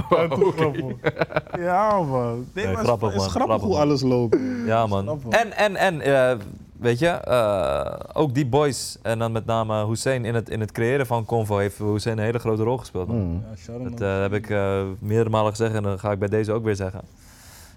A: Wat een grappig. Ja man. Nee,
D: Nee,
A: maar
D: grappig,
A: het is grappig
D: man. Grappig,
A: hoe
D: man.
A: alles loopt.
D: Ja, man.
A: Snap ik.
D: En, en, en, eh, weet je, eh, ook die boys en dan met name Hussein in het, in het creëren van Convo heeft Hussein een hele grote rol gespeeld. Man.
A: Ja, shout out,
D: Dat
A: man.
D: eh, heb ik eh, meerdere malen gezegd en dan ga ik bij deze ook weer zeggen.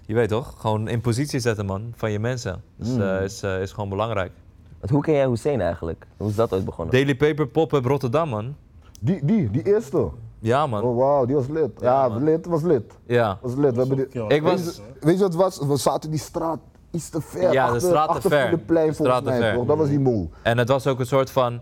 D: Je weet toch, gewoon in positie zetten man, van je mensen. Dus,
A: Mm.
D: eh, is, eh, is gewoon belangrijk.
C: Want hoe ken jij Hussein eigenlijk? Hoe is dat ooit begonnen?
D: Daily Paper Pop-Up Rotterdam man.
B: Die, die, die eerste.
D: Ja man,
B: Oh wauw, die was lid. Ja, lid, was lid.
D: ja.
B: was lid. We hebben die-
A: Kill.
D: Ik
B: Weet
D: was,
B: je- Weet je wat het was? We zaten die straat iets te ver.
D: Ja, de
B: achter,
D: straat te
B: achter
D: ver.
B: Voedenplein volgens
D: Straat te
B: mij,
D: ver.
B: toch? Dat was die moe.
D: en het was ook een soort van,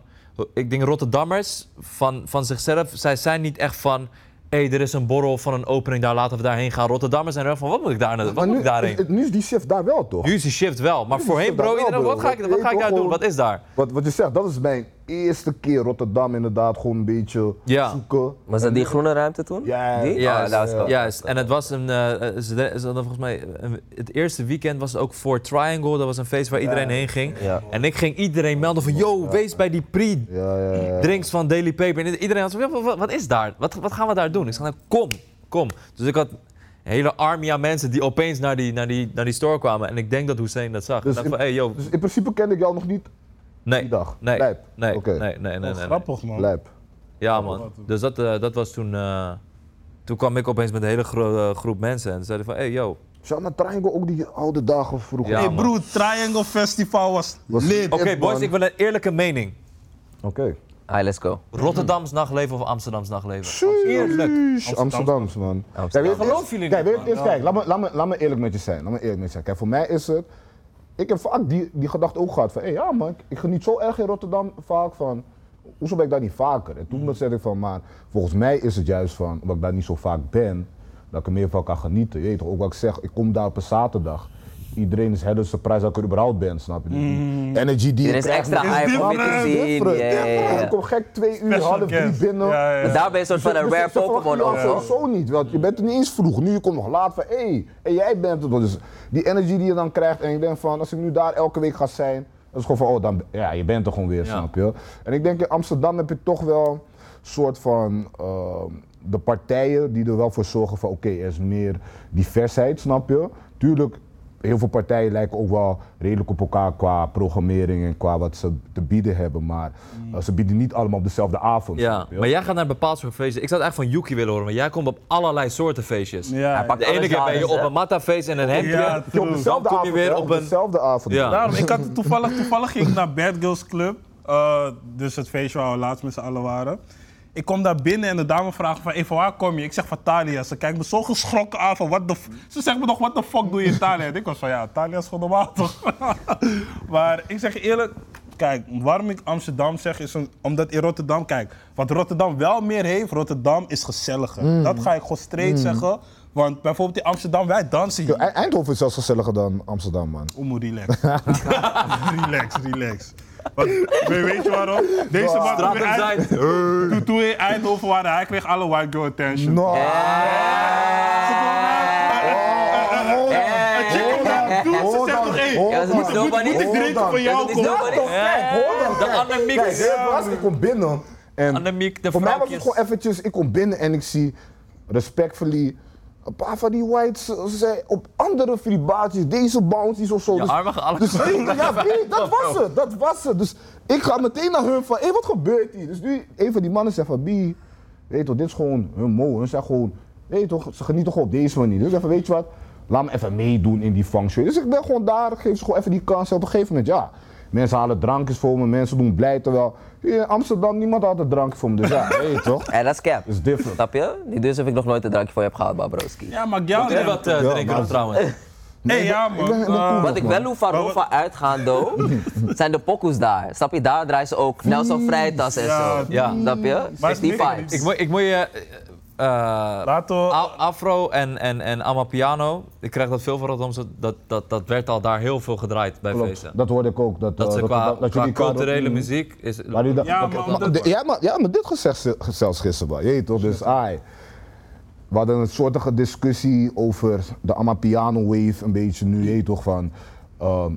D: ik denk Rotterdammers van, van zichzelf, zij zijn niet echt van... Hé, hey, er is een borrel van een opening, daar laten we daarheen gaan. Rotterdammers zijn er wel van, wat moet ik daar naartoe? Wat
B: nu,
D: moet ik daarheen?
B: is- nu is die shift daar wel, toch?
D: Nu is die shift wel, maar
B: is
D: voorheen
B: die shift daar wel,
D: bro, iedereen, wat
B: bro.
D: ga ik, wat
B: Weet
D: ga ik
B: toch
D: daar doen?
B: gewoon-
D: Wat is daar?
B: Wat, wat je zegt, dat is mijn eerste keer Rotterdam inderdaad. Gewoon een beetje
D: Ja.
B: zoeken.
C: Was dat die groene ruimte toen?
B: Ja,
C: Die?
D: Ja,
C: Ah, dat was wel-
D: Juist, en het was een, eh, eh, ze de- ze hadden volgens mij, eh, het eerste weekend was het ook voor Triangle, dat was een feest waar iedereen heen ging.
C: Ja.
D: En ik ging iedereen melden van, yo, wees bij die
B: Ja, ja, ja.
D: pre-drinks van Daily Paper. En iedereen had zo, "Ja, wat, wat is daar? Wat, wat gaan we daar doen? Ik zei, nou, kom, kom. Dus ik had een hele army aan mensen die opeens naar die, naar die, naar die store kwamen. En ik denk dat Hussein dat zag.
B: Dus
D: ik dacht
B: in-
D: van, hey, yo,
B: Dus in principe kende ik jou nog niet
D: nee,
B: die dag.
D: nee, nee,
B: Lijp.
D: nee,
B: Oké.
D: nee, nee, nee, nee.
A: Grappig man.
B: lijp.
D: Ja, man. Dus dat, eh, dat was toen. eh, toen kwam ik opeens met een hele gro- eh, groep mensen en zeiden van: hey, yo.
B: Zou naar Triangle ook die oude dagen vroeger?
D: Ja,
A: hey
D: man.
A: broer, Triangle Festival was
B: Was-
A: lid.
D: Oké,
B: man.
D: boys, ik wil een eerlijke mening.
B: Oké.
C: Ah, let's go.
D: Rotterdams nachtleven of Amsterdams nachtleven? Eerlijk.
B: Amsterdams, Amsterdams, man.
C: Amsterdam.
B: Kijk, weet je-
D: Geloof jullie
B: kijk,
D: dit,
B: weet je- Kijk, laat me, laat, me, laat me eerlijk met je zijn. Laat me eerlijk met je zijn. Kijk, voor mij is het... Ik heb vaak die, die gedachte ook gehad van... Hé, ja man, ik, ik geniet zo erg in Rotterdam vaak van... hoezo ben ik daar niet vaker? En toen zei ik van, maar volgens mij is het juist van, omdat ik daar niet zo vaak ben, dat ik er meer van kan genieten. Je weet toch, ook wat ik zeg, ik kom daar op een zaterdag. Iedereen is helder surprise dat ik er überhaupt ben, snap je? Dus die Energy die
E: Er
B: ik
E: is
B: krijg,
E: extra
A: dus
B: man, is
E: hype om je
B: different,
E: te zien.
B: different,
E: Ja, ja,
B: different.
E: ja.
B: Ik kom gek twee uur,
A: Special
B: half drie
A: guest.
B: binnen.
A: Ja, ja, ja.
E: Daar ben je een soort van een
A: (laughs)
E: rare Pokémon
B: ook.
E: ook, toch?
B: Sowieso niet, want je bent er niet eens vroeg. Nu je komt nog laat van, hé, hey, en jij bent het. Dus die energy die je dan krijgt en je denkt van, als ik nu daar elke week ga zijn, dat is gewoon van, oh, dan, ja, je bent er gewoon weer, snap je? En ik denk in Amsterdam heb je toch wel een soort van ehm, de partijen die er wel voor zorgen van, oké, er is meer diversiteit, snap je? Tuurlijk, heel veel partijen lijken ook wel redelijk op elkaar qua programmering en qua wat ze te bieden hebben. Maar eh, ze bieden niet allemaal op dezelfde avond.
D: Mm. Ja,
B: snap je?
D: maar jij gaat naar een bepaald soort feestje. Ik zou het echt van Yuki willen horen, want jij komt op allerlei soorten feestjes.
A: Ja,
E: pak-
D: De ene
E: Alles
D: keer ben je
E: alles,
D: op
E: hè?
D: een mattafeest en een hemdje.
A: Ja,
B: Ja, op
A: true.
B: dezelfde
D: Dan kom je
B: avond,
D: weer
B: hè,
D: op een-
B: dezelfde avond.
D: Ja.
A: Daarom, ik had toevallig, toevallig ging ik naar Bad Girls Club. eh, dus het feestje waar we laatst met z'n allen waren. Ik kom daar binnen en de dame vraagt van, hey, van waar kom je? Ik zeg van Thalia. Ze kijkt me zo geschrokken aan van, what the f-" Ze zegt me nog, wat de fuck doe je in Thalia? En ik was van, ja, Thalia is gewoon normaal toch? (laughs) maar ik zeg je eerlijk, kijk, waarom ik Amsterdam zeg is een- omdat in Rotterdam, kijk, wat Rotterdam wel meer heeft, Rotterdam is gezelliger. Dat ga ik gewoon straight zeggen. Want bijvoorbeeld in Amsterdam, wij dansen hier.
B: E- Eindhoven is zelfs gezelliger dan Amsterdam, man.
A: Oemo, relax. (laughs) relax, relax. Want, weet weet je waarom? Deze man toen
D: Straat
A: hij-
D: op zijn.
A: toen, toen we in Eindhoven waren, hij kreeg alle white girl attention.
B: No. Oh,
A: Eh, Een chick komt naar hem toe, ze zegt nog één.
B: Hold
E: Ja, dat
B: on.
E: is nobody.
A: Moet ik drinken van jou?
E: Dat is
A: kom?
E: nobody.
D: De Annemiek.
B: Kijk, heel was, ik kom binnen. En
D: Annemiek, de
B: voor mij was het
D: vrouwtjes.
B: gewoon eventjes, ik kom binnen en ik zie respectfully een paar van die whites, eh, ze zei op andere fribaatjes, deze bounties of zo.
D: Je armen gaan alle
B: dus
D: kanten
B: ik- ja, nee, dat was het, dat was het. Dus ik ga meteen naar hun van, hé, wat gebeurt hier? Dus nu, een van die mannen zegt van, Bi, weet je toch, dit is gewoon hun mo, hun zijn gewoon, weet je toch, ze genieten gewoon op deze manier. Dus ik zeg van, weet je wat, laat me even meedoen in die function. Dus ik ben gewoon daar, geef ze gewoon even die kans. En op een gegeven moment, ja, mensen halen drankjes voor me, mensen doen blij, terwijl hier in Amsterdam niemand had een drankje voor me. Dus ja,
D: (laughs)
B: weet je toch,
E: En dat is cap.
B: is different.
E: Snap je? Niet dus of ik nog nooit een drankje voor je heb gehaald, Babroski.
A: Ja, maar jou
D: Doe
A: nee.
D: wat eh,
B: Ja,
D: drinken
B: maar-
D: op
B: (laughs)
D: trouwens.
A: Nee, ja,
B: Ik ben- ik ben
A: man. Eh,
B: cool.
E: Wat ik wel hoef van Rova uitgaan, do,
A: (laughs)
E: zijn de pokoes daar. Snap je? Daar draaien ze ook Nelson Freitas en
A: Mm. Ja,
E: zo.
D: Ja.
E: Snap je?
A: Maar
E: Is die
A: het is
E: vibes.
D: Ik moet, ik moet je... eh, eh,
A: Laten we-
D: A- Afro en, en, en Amapiano, ik krijg dat veel van Rotterdamse, dat, dat, dat werd al daar heel veel gedraaid bij feesten.
B: Klopt, dat hoorde ik ook. Dat,
D: Dat
B: eh,
D: ze qua,
B: Rotterdam- dat
D: qua
B: jullie qua-
D: culturele
B: Mm.
D: muziek is...
B: Maar die,
A: Ja,
B: oké,
A: maar
B: maar
A: omdat-
B: de- ja, maar, ja, maar dit gezegd ze- zelfs gisteren wel. Je weet toch? Dus ai. We hadden een soortige discussie over de Amapiano wave een beetje nu. Je weet toch van ehm,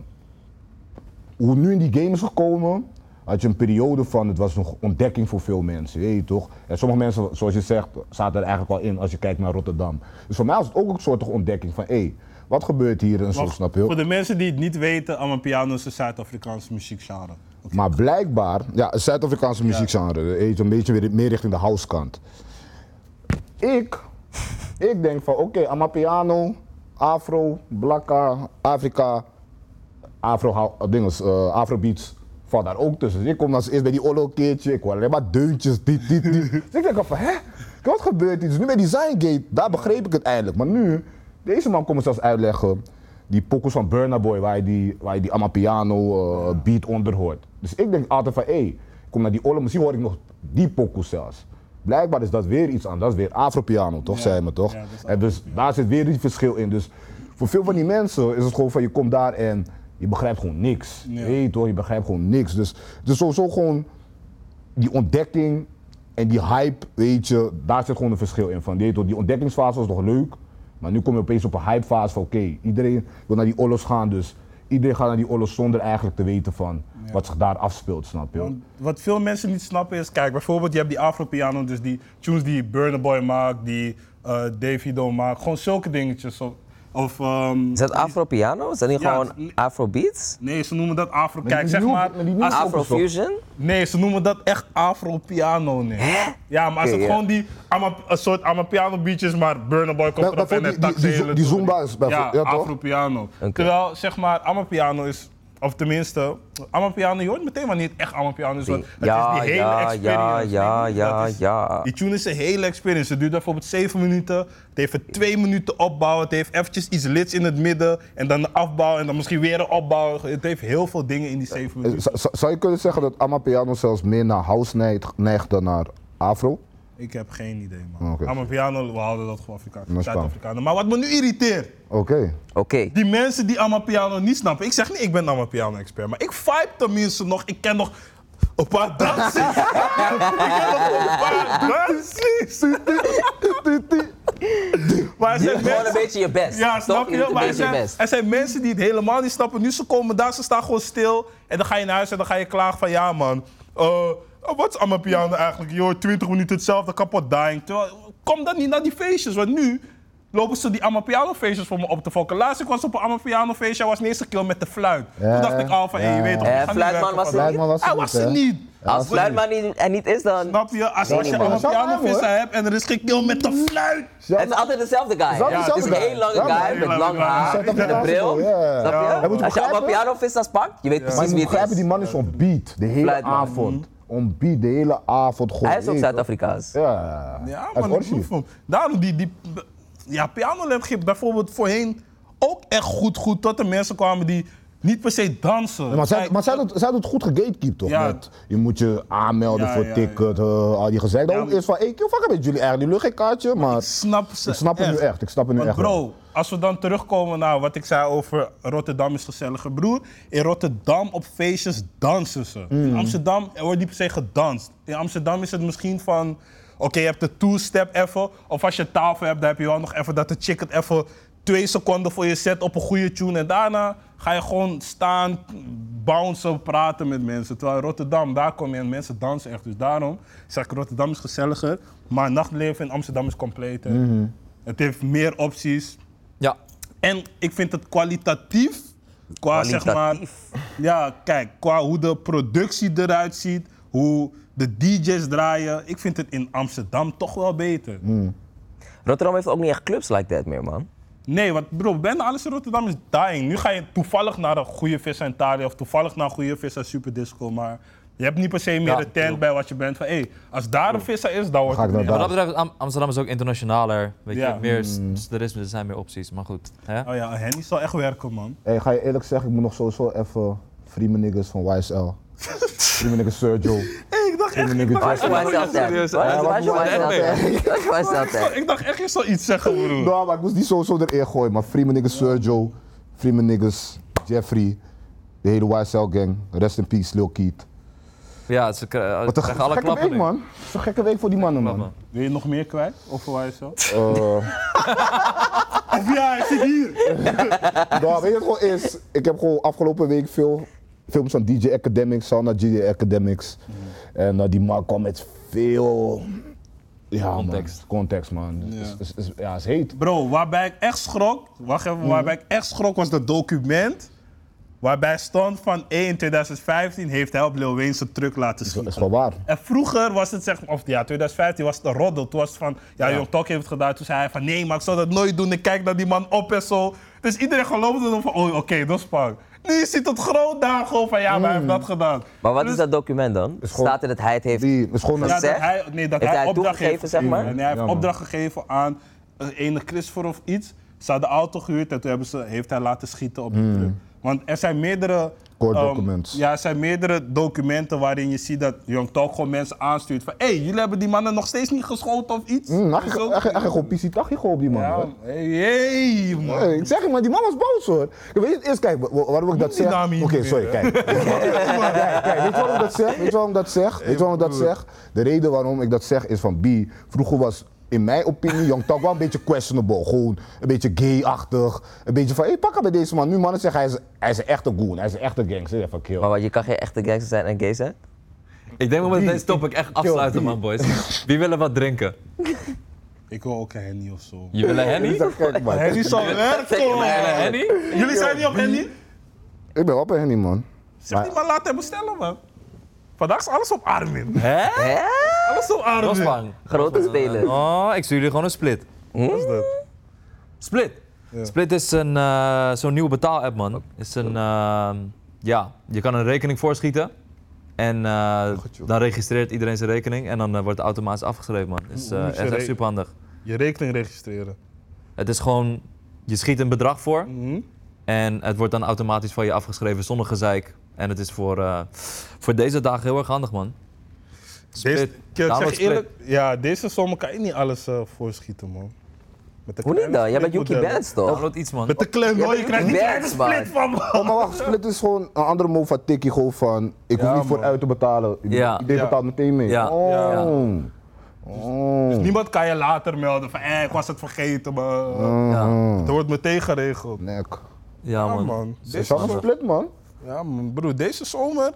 B: hoe nu in die game is gekomen. Had je een periode van, het was nog ontdekking voor veel mensen, je weet toch? En sommige mensen, zoals je zegt, zaten er eigenlijk al in als je kijkt naar Rotterdam. Dus voor mij was het ook een soortige ontdekking van, hé, wat gebeurt hier en zo,
A: Wacht,
B: snap je?
A: Voor de mensen die het niet weten, Amapiano is een Zuid-Afrikaanse muziekgenre. Oké.
B: Maar blijkbaar, ja, het Zuid-Afrikaanse muziekgenre, eh, een beetje weer meer richting de housekant. Ik, ik denk van oké, Amapiano, Afro, Blakka, Afrika, Afro, dinges, eh Afrobeats valt daar ook tussen. Dus ik kom als eerst bij die Olo keertje, ik hoor alleen maar deuntjes, dit, dit,
A: (laughs)
B: dit. dus ik denk al van hè, wat gebeurt hier? Dus nu bij Design Gate, daar begreep ik het eindelijk. Maar nu, deze man komt me zelfs uitleggen, die pokus van Burna Boy, waar je die, waar je die Amapiano eh, beat onder hoort. Dus ik denk altijd van hé, ik kom naar die Olo, misschien hoor ik nog die pokus zelfs. Blijkbaar is dat weer iets anders, dat is weer Afropiano, toch? Zei me toch?
A: ja, dat is
B: en dus daar zit weer een verschil in. Dus voor veel van die mensen is het gewoon van je komt daar en je begrijpt gewoon niks.
A: Ja.
B: Nee, toch? Je begrijpt gewoon niks. Dus het is sowieso gewoon die ontdekking en die hype, weet je, daar zit gewoon een verschil in. Van, nee, toch? Die ontdekkingsfase was nog leuk, maar nu kom je opeens op een hypefase van oké, iedereen wil naar die Ollos gaan. Dus iedereen gaat naar die Ollos zonder eigenlijk te weten van wat zich daar afspeelt, snap je?
A: Want wat veel mensen niet snappen is, kijk, bijvoorbeeld je hebt die Afro-piano, dus die tunes die Burna Boy maakt, die eh Davido maakt, gewoon zulke dingetjes. Of, of ehm,
E: Is dat Afro-piano? Is dat niet
A: Ja,
E: gewoon
A: het-
E: Afro-beats?
A: nee, ze noemen dat Afro.
B: die
A: Kijk, zeg
B: nieuwe-
A: maar.
B: met die nieuwe
A: als-
B: ook zo.
E: Afro-fusion?
A: nee, ze noemen dat echt Afro-piano. Nee. Ja, maar als
E: Oké,
A: het
E: ja.
A: gewoon die ama, een soort amapiano beatjes, maar Burna Boy komt
B: Ja,
A: erop en
B: bijvoorbeeld
A: het
B: die- die-
A: taxi
B: die-
A: hele
B: die
A: tour.
B: Zumba is bijvoorbeeld- ja,
A: Ja,
B: toch?
A: Afro-piano. Terwijl zeg maar, amapiano is Of tenminste, Amapiano, je hoort meteen wanneer het echt Amapiano is. Want het
C: Ja,
A: is die hele
C: ja, ja,
A: experience.
C: ja,
A: Dat
C: ja,
A: is-
C: ja.
A: Die tune is een hele experience. Het duurt bijvoorbeeld 7 minuten. Het heeft er 2 minuten opbouw. Het heeft eventjes iets lids in het midden. En dan de afbouw. En dan misschien weer een opbouw. Het heeft heel veel dingen in die 7
B: Eh,
A: minuten.
B: z- z- Zou je kunnen zeggen dat Amapiano zelfs meer naar house neigt, neigt dan naar afro?
A: Ik heb geen idee, man.
B: Oké.
A: Amapiano, we hadden dat gewoon Afrikaans.
B: is Spaans.
A: Zuid-Afrikanen. Maar wat me nu irriteert.
B: Oké.
C: Oké.
A: Die mensen die Amapiano niet snappen. Ik zeg niet, ik ben Amapiano-expert. Maar ik vibe tenminste nog. Ik ken nog een paar dansen. (laughs) ik ken nog een paar dansen. maar
E: Je doet
A: er zijn
E: gewoon
A: mensen...
E: een beetje je best.
A: Ja,
E: Toch?
A: snap je?
E: doet
A: Maar
E: een beetje
A: er
E: je
A: zijn,
E: best.
A: er zijn mensen die het helemaal niet snappen. Nu ze komen daar, ze staan gewoon stil. En dan ga je naar huis en dan ga je klagen van... Ja man, eh, oh, wat is Amapiano eigenlijk? Je hoort 20 minuten hetzelfde, kapot dying. Terwijl, kom dan niet naar die feestjes. Want nu lopen ze die Amapiano feestjes voor me op te fokken. Laatst ik was op een Amapiano feestje. Hij was de eerste keer met de fluit.
B: Ja.
A: Toen dacht ik al van... hé, je weet toch,
E: Ja.
A: ik ga
E: Eh,
A: niet
E: fluitman
A: werken
E: was
A: van-
E: er niet?
B: Fluitman was er
A: Hij
B: niet,
A: was er
B: hè?
A: niet.
E: Als
B: Absoluut.
E: Fluitman niet, er niet is, dan...
A: Snap je? Als, als je
B: man.
A: Amapiano
B: Zou hij, hoor.
A: hebt en er is geen kill met de fluit.
B: Zelfs-
E: Het is altijd dezelfde guy.
B: Altijd
E: het is
B: dezelfde guy.
E: één lange
B: Ja,
E: guy
B: man.
E: met lang haar,
B: Zet hem
E: met een
B: naast
E: bril.
B: hem, ja.
E: Snap
A: Ja.
E: je?
A: Hij
B: moet
E: Als je
B: begrijpen.
E: allemaal pianovistas pakt, je weet
B: Maar
E: precies
B: je
E: wie
B: moet
E: het
B: begrijpen, die
E: is.
B: man is on beat. De hele
E: Fluitman.
A: Mhm.
B: avond. On beat, de hele avond. Gewoon,
E: Hij is ook
B: weet je.
E: Zuid-Afrikaans.
B: Ja,
A: Ja,
B: Uit
A: maar ik
B: Orsi.
A: proef hem. Daarom die, die ja, pianoles geeft bijvoorbeeld voorheen ook echt goed, goed. Tot er mensen kwamen die niet per se dansen.
B: Maar zij,
A: Kijk,
B: maar zij, doet, zij doet goed gegatekeept toch?
A: Ja.
B: Met, je moet je aanmelden
A: Ja,
B: voor
A: ja,
B: ticket, eh, al die gezeik. Dan
A: Ja,
B: ook
A: maar-
B: eerst van, hey, kill, fuck met jullie eigenlijk, jullie geen kaartje, maar...
A: snap ze
B: Ik snap het nu echt, ik snap het nu
A: Want
B: echt
A: Bro,
B: wel.
A: als we dan terugkomen naar wat ik zei over Rotterdam is gezelliger. Broer, in Rotterdam op feestjes dansen ze.
B: Mm.
A: In Amsterdam er wordt niet per se gedanst. In Amsterdam is het misschien van... Oké, je hebt de two-step even. Of als je tafel hebt, dan heb je wel nog even dat de chick het even... Twee seconden voor je set op een goede tune. En daarna ga je gewoon staan, bouncen, praten met mensen. Terwijl in Rotterdam, daar kom je en mensen dansen echt. Dus daarom zeg ik, Rotterdam is gezelliger. Maar nachtleven in Amsterdam is completer.
B: Mhm.
A: Het heeft meer opties.
D: Ja,
A: En ik vind het kwalitatief. Qua
C: Kwalitatief.
A: zeg maar. Ja, kijk, qua hoe de productie eruit ziet, hoe de DJ's draaien. Ik vind het in Amsterdam toch wel beter.
B: Hmm.
C: Rotterdam heeft ook niet echt clubs like that meer, man.
A: Nee, want bro, bijna alles in Rotterdam is dying. Nu ga je toevallig naar een goede vis en Thalia of toevallig naar een goede vis en Superdisco, maar je hebt niet per se meer
D: Ja,
A: de tent bij wat je bent van, hé, als daar een visser is, dan wordt
B: Ga ik
A: het
B: naar
A: meer.
D: wat dat betreft, Am- Amsterdam is ook internationaler. Weet
A: Ja.
D: je, meer, s-
B: Mm.
D: s- er, is, er zijn meer opties, maar goed. Hè?
A: Oh ja, Henny zal echt werken, man.
B: Hey, ga je eerlijk zeggen, ik moet nog sowieso even free mijn niggas van YSL. free mijn niggas Sergio.
A: Hé, ik dacht echt,
B: Free mijn niggas
E: Waar is
B: Justin.
E: Waar is dat?
D: Serieus, hè?
E: Waar is-
B: Ja,
E: waar is
B: wat
E: Waar is
B: moet
E: dat?
B: je
E: (laughs) Waar is dat? hè?
A: (laughs) ik dacht echt, je zal iets zeggen, broer.
B: Nou, maar ik moest die sowieso erin gooien, maar free mijn niggas Sergio. Free mijn niggas Jeffrey. De hele YSL gang. Rest in peace, Lil Keat.
D: Ja, ze kri- eh, ze
B: Wat een
D: krijgen alle
B: gekke
D: klappen
B: week,
D: nu.
B: man. Het is een gekke week voor die mannen, man.
D: Klappen.
A: Wil je nog meer kwijt over YSL?
B: Eh,
A: (laughs) Of ja, hij zit hier.
B: Nou, weet je wat het gewoon is? Ik heb gewoon afgelopen week veel films van DJ Academics, Sauna DJ Academics. En eh, die man kwam met veel... Ja, context. Man, context, man. Dus is- is- is- ja, is heet.
A: Bro, waarbij ik echt schrok, wacht even, waarbij ik echt schrok was dat document. Waarbij stond van 1 in 2015 heeft hij op Lil Wayne zijn truck laten
B: Dat is
A: schieten.
B: wel waar.
A: En vroeger was het zeg maar, of ja, 2015 was het een roddel. Toen was het van, ja, Jong Tok heeft het gedaan. Toen zei hij van, nee, maar ik zou dat nooit doen. Ik kijk naar die man op en zo. Dus iedereen geloofde dan van, oh, oké, dat is pak. Nu is het groot daar gewoon van, ja, maar hij heeft dat gedaan.
C: Maar wat
A: Dus-
C: is dat document dan?
B: gewoon-
C: Staat er dat hij het heeft...
B: Die is gewoon...
A: Ja,
B: een-
A: dat
C: Zeg?
A: hij, nee, dat
C: Heeft
A: hij,
C: hij
A: opdracht
C: toegegeven,
A: heeft
C: zeg maar?
A: gegeven. En hij heeft
B: Ja, man.
A: opdracht gegeven aan een ene Christopher of iets. Ze hadden auto gehuurd en toen hebben ze, heeft hij laten schieten op de truck. Want er zijn meerdere...
B: Kort
A: ehm,
B: Hmm. documents.
A: ja, er zijn meerdere documenten waarin je ziet dat Young Talk gewoon mensen aanstuurt van... Hé, hey, jullie hebben die mannen nog steeds niet geschoten of iets?
B: Mm, hij
A: Of
B: ging-
A: zo.
B: hij ging hij ging gewoon pissie tachtig gewoon op die man.
A: Ja,
B: hoor.
A: hey, hey, man.
B: Hey, ik zeg je, maar die man was boos hoor. Kijk, Weet je, eerst kijk, wa- wa- waarom ik dat
A: die
B: zeg.
A: namen
B: Oké,
A: hier niet
B: sorry,
A: meer,
B: kijk.
A: (laughs)
B: kijk, kijk, Weet je waarom ik dat zeg? Weet je waarom ik dat zeg? Weet je waarom ik dat zeg? De reden waarom ik dat zeg is van B. Vroeger was, in mijn opinie, Young Talk wel een beetje questionable. Gewoon een beetje gay-achtig. Een beetje van, hé, pak hem bij deze man. Nu mannen zeggen, hij is, hij is een echte goon. Hij is een echte gangster. Ja, van kill.
C: Maar wat, je kan geen echte gangster zijn en gay zijn?
D: Ik denk dat we met deze topic echt afsluiten, man, boys. Wie willen wat drinken?
A: Ik wil ook een Henny of zo.
D: Je willen
A: (laughs)
B: Ik
D: Henny?
B: zeg, kijk, man.
A: Henny zal werken, man.
D: Henny?
A: Jullie zijn niet op Henny?
B: Ik ben wel bij Henny, man.
A: Zeg die man, laat hem bestellen, man. Vandaag is alles op Armin.
D: Hè?
C: Hè?
A: Alles op Armin.
D: Rosbang.
C: Grote speler.
D: Oh, ik stuur jullie gewoon een split.
A: Hm? Wat is dat?
D: Split. Split is een, eh, zo'n nieuwe betaalapp, man. Is een, ehm, Ja, je kan een rekening voorschieten. En eh,
A: Goed, Oh, joh.
D: dan registreert iedereen zijn rekening en dan eh, wordt het automatisch afgeschreven, man. Het is
A: Hoe
D: eh,
A: moet je
D: echt, echt
A: re-
D: super handig.
A: Je rekening registreren.
D: Het is gewoon, je schiet een bedrag voor
A: Mhm.
D: en het wordt dan automatisch van je afgeschreven zonder gezeik. En het is voor, eh, voor deze dagen heel erg handig, man.
A: Deze,
D: Split.
A: ik zeg
D: Download
A: je eerlijk, ja, deze zomer kan je niet alles eh, voorschieten, man. Met de
E: Hoe niet
A: kleine
E: dan? Jij bent Yuki
A: splitmodellen.
E: Benz toch?
D: Download iets, man.
A: Met de klein
E: Jij
A: hoor, je
E: bent
A: krijgt niet
E: Yuki
A: kleine
E: Benz, man.
A: split van,
B: Oh,
A: man.
B: maar
A: (laughs)
B: wacht, split is gewoon een andere move van tikkie. Gewoon van, ik hoef
A: Ja,
B: niet
A: man.
B: vooruit te betalen.
D: Ja.
B: Iedereen
A: Ja.
B: betaalt meteen mee.
D: Ja.
B: Oh.
A: Ja.
B: Oh.
A: Niemand kan je later melden van, eh, ik was het vergeten, man. Het wordt meteen geregeld.
B: Nek.
D: Ja,
A: Ja,
D: man.
A: man.
B: Dit is
A: Deze,
B: wel een split, man.
A: ja, man. Broer, deze zomer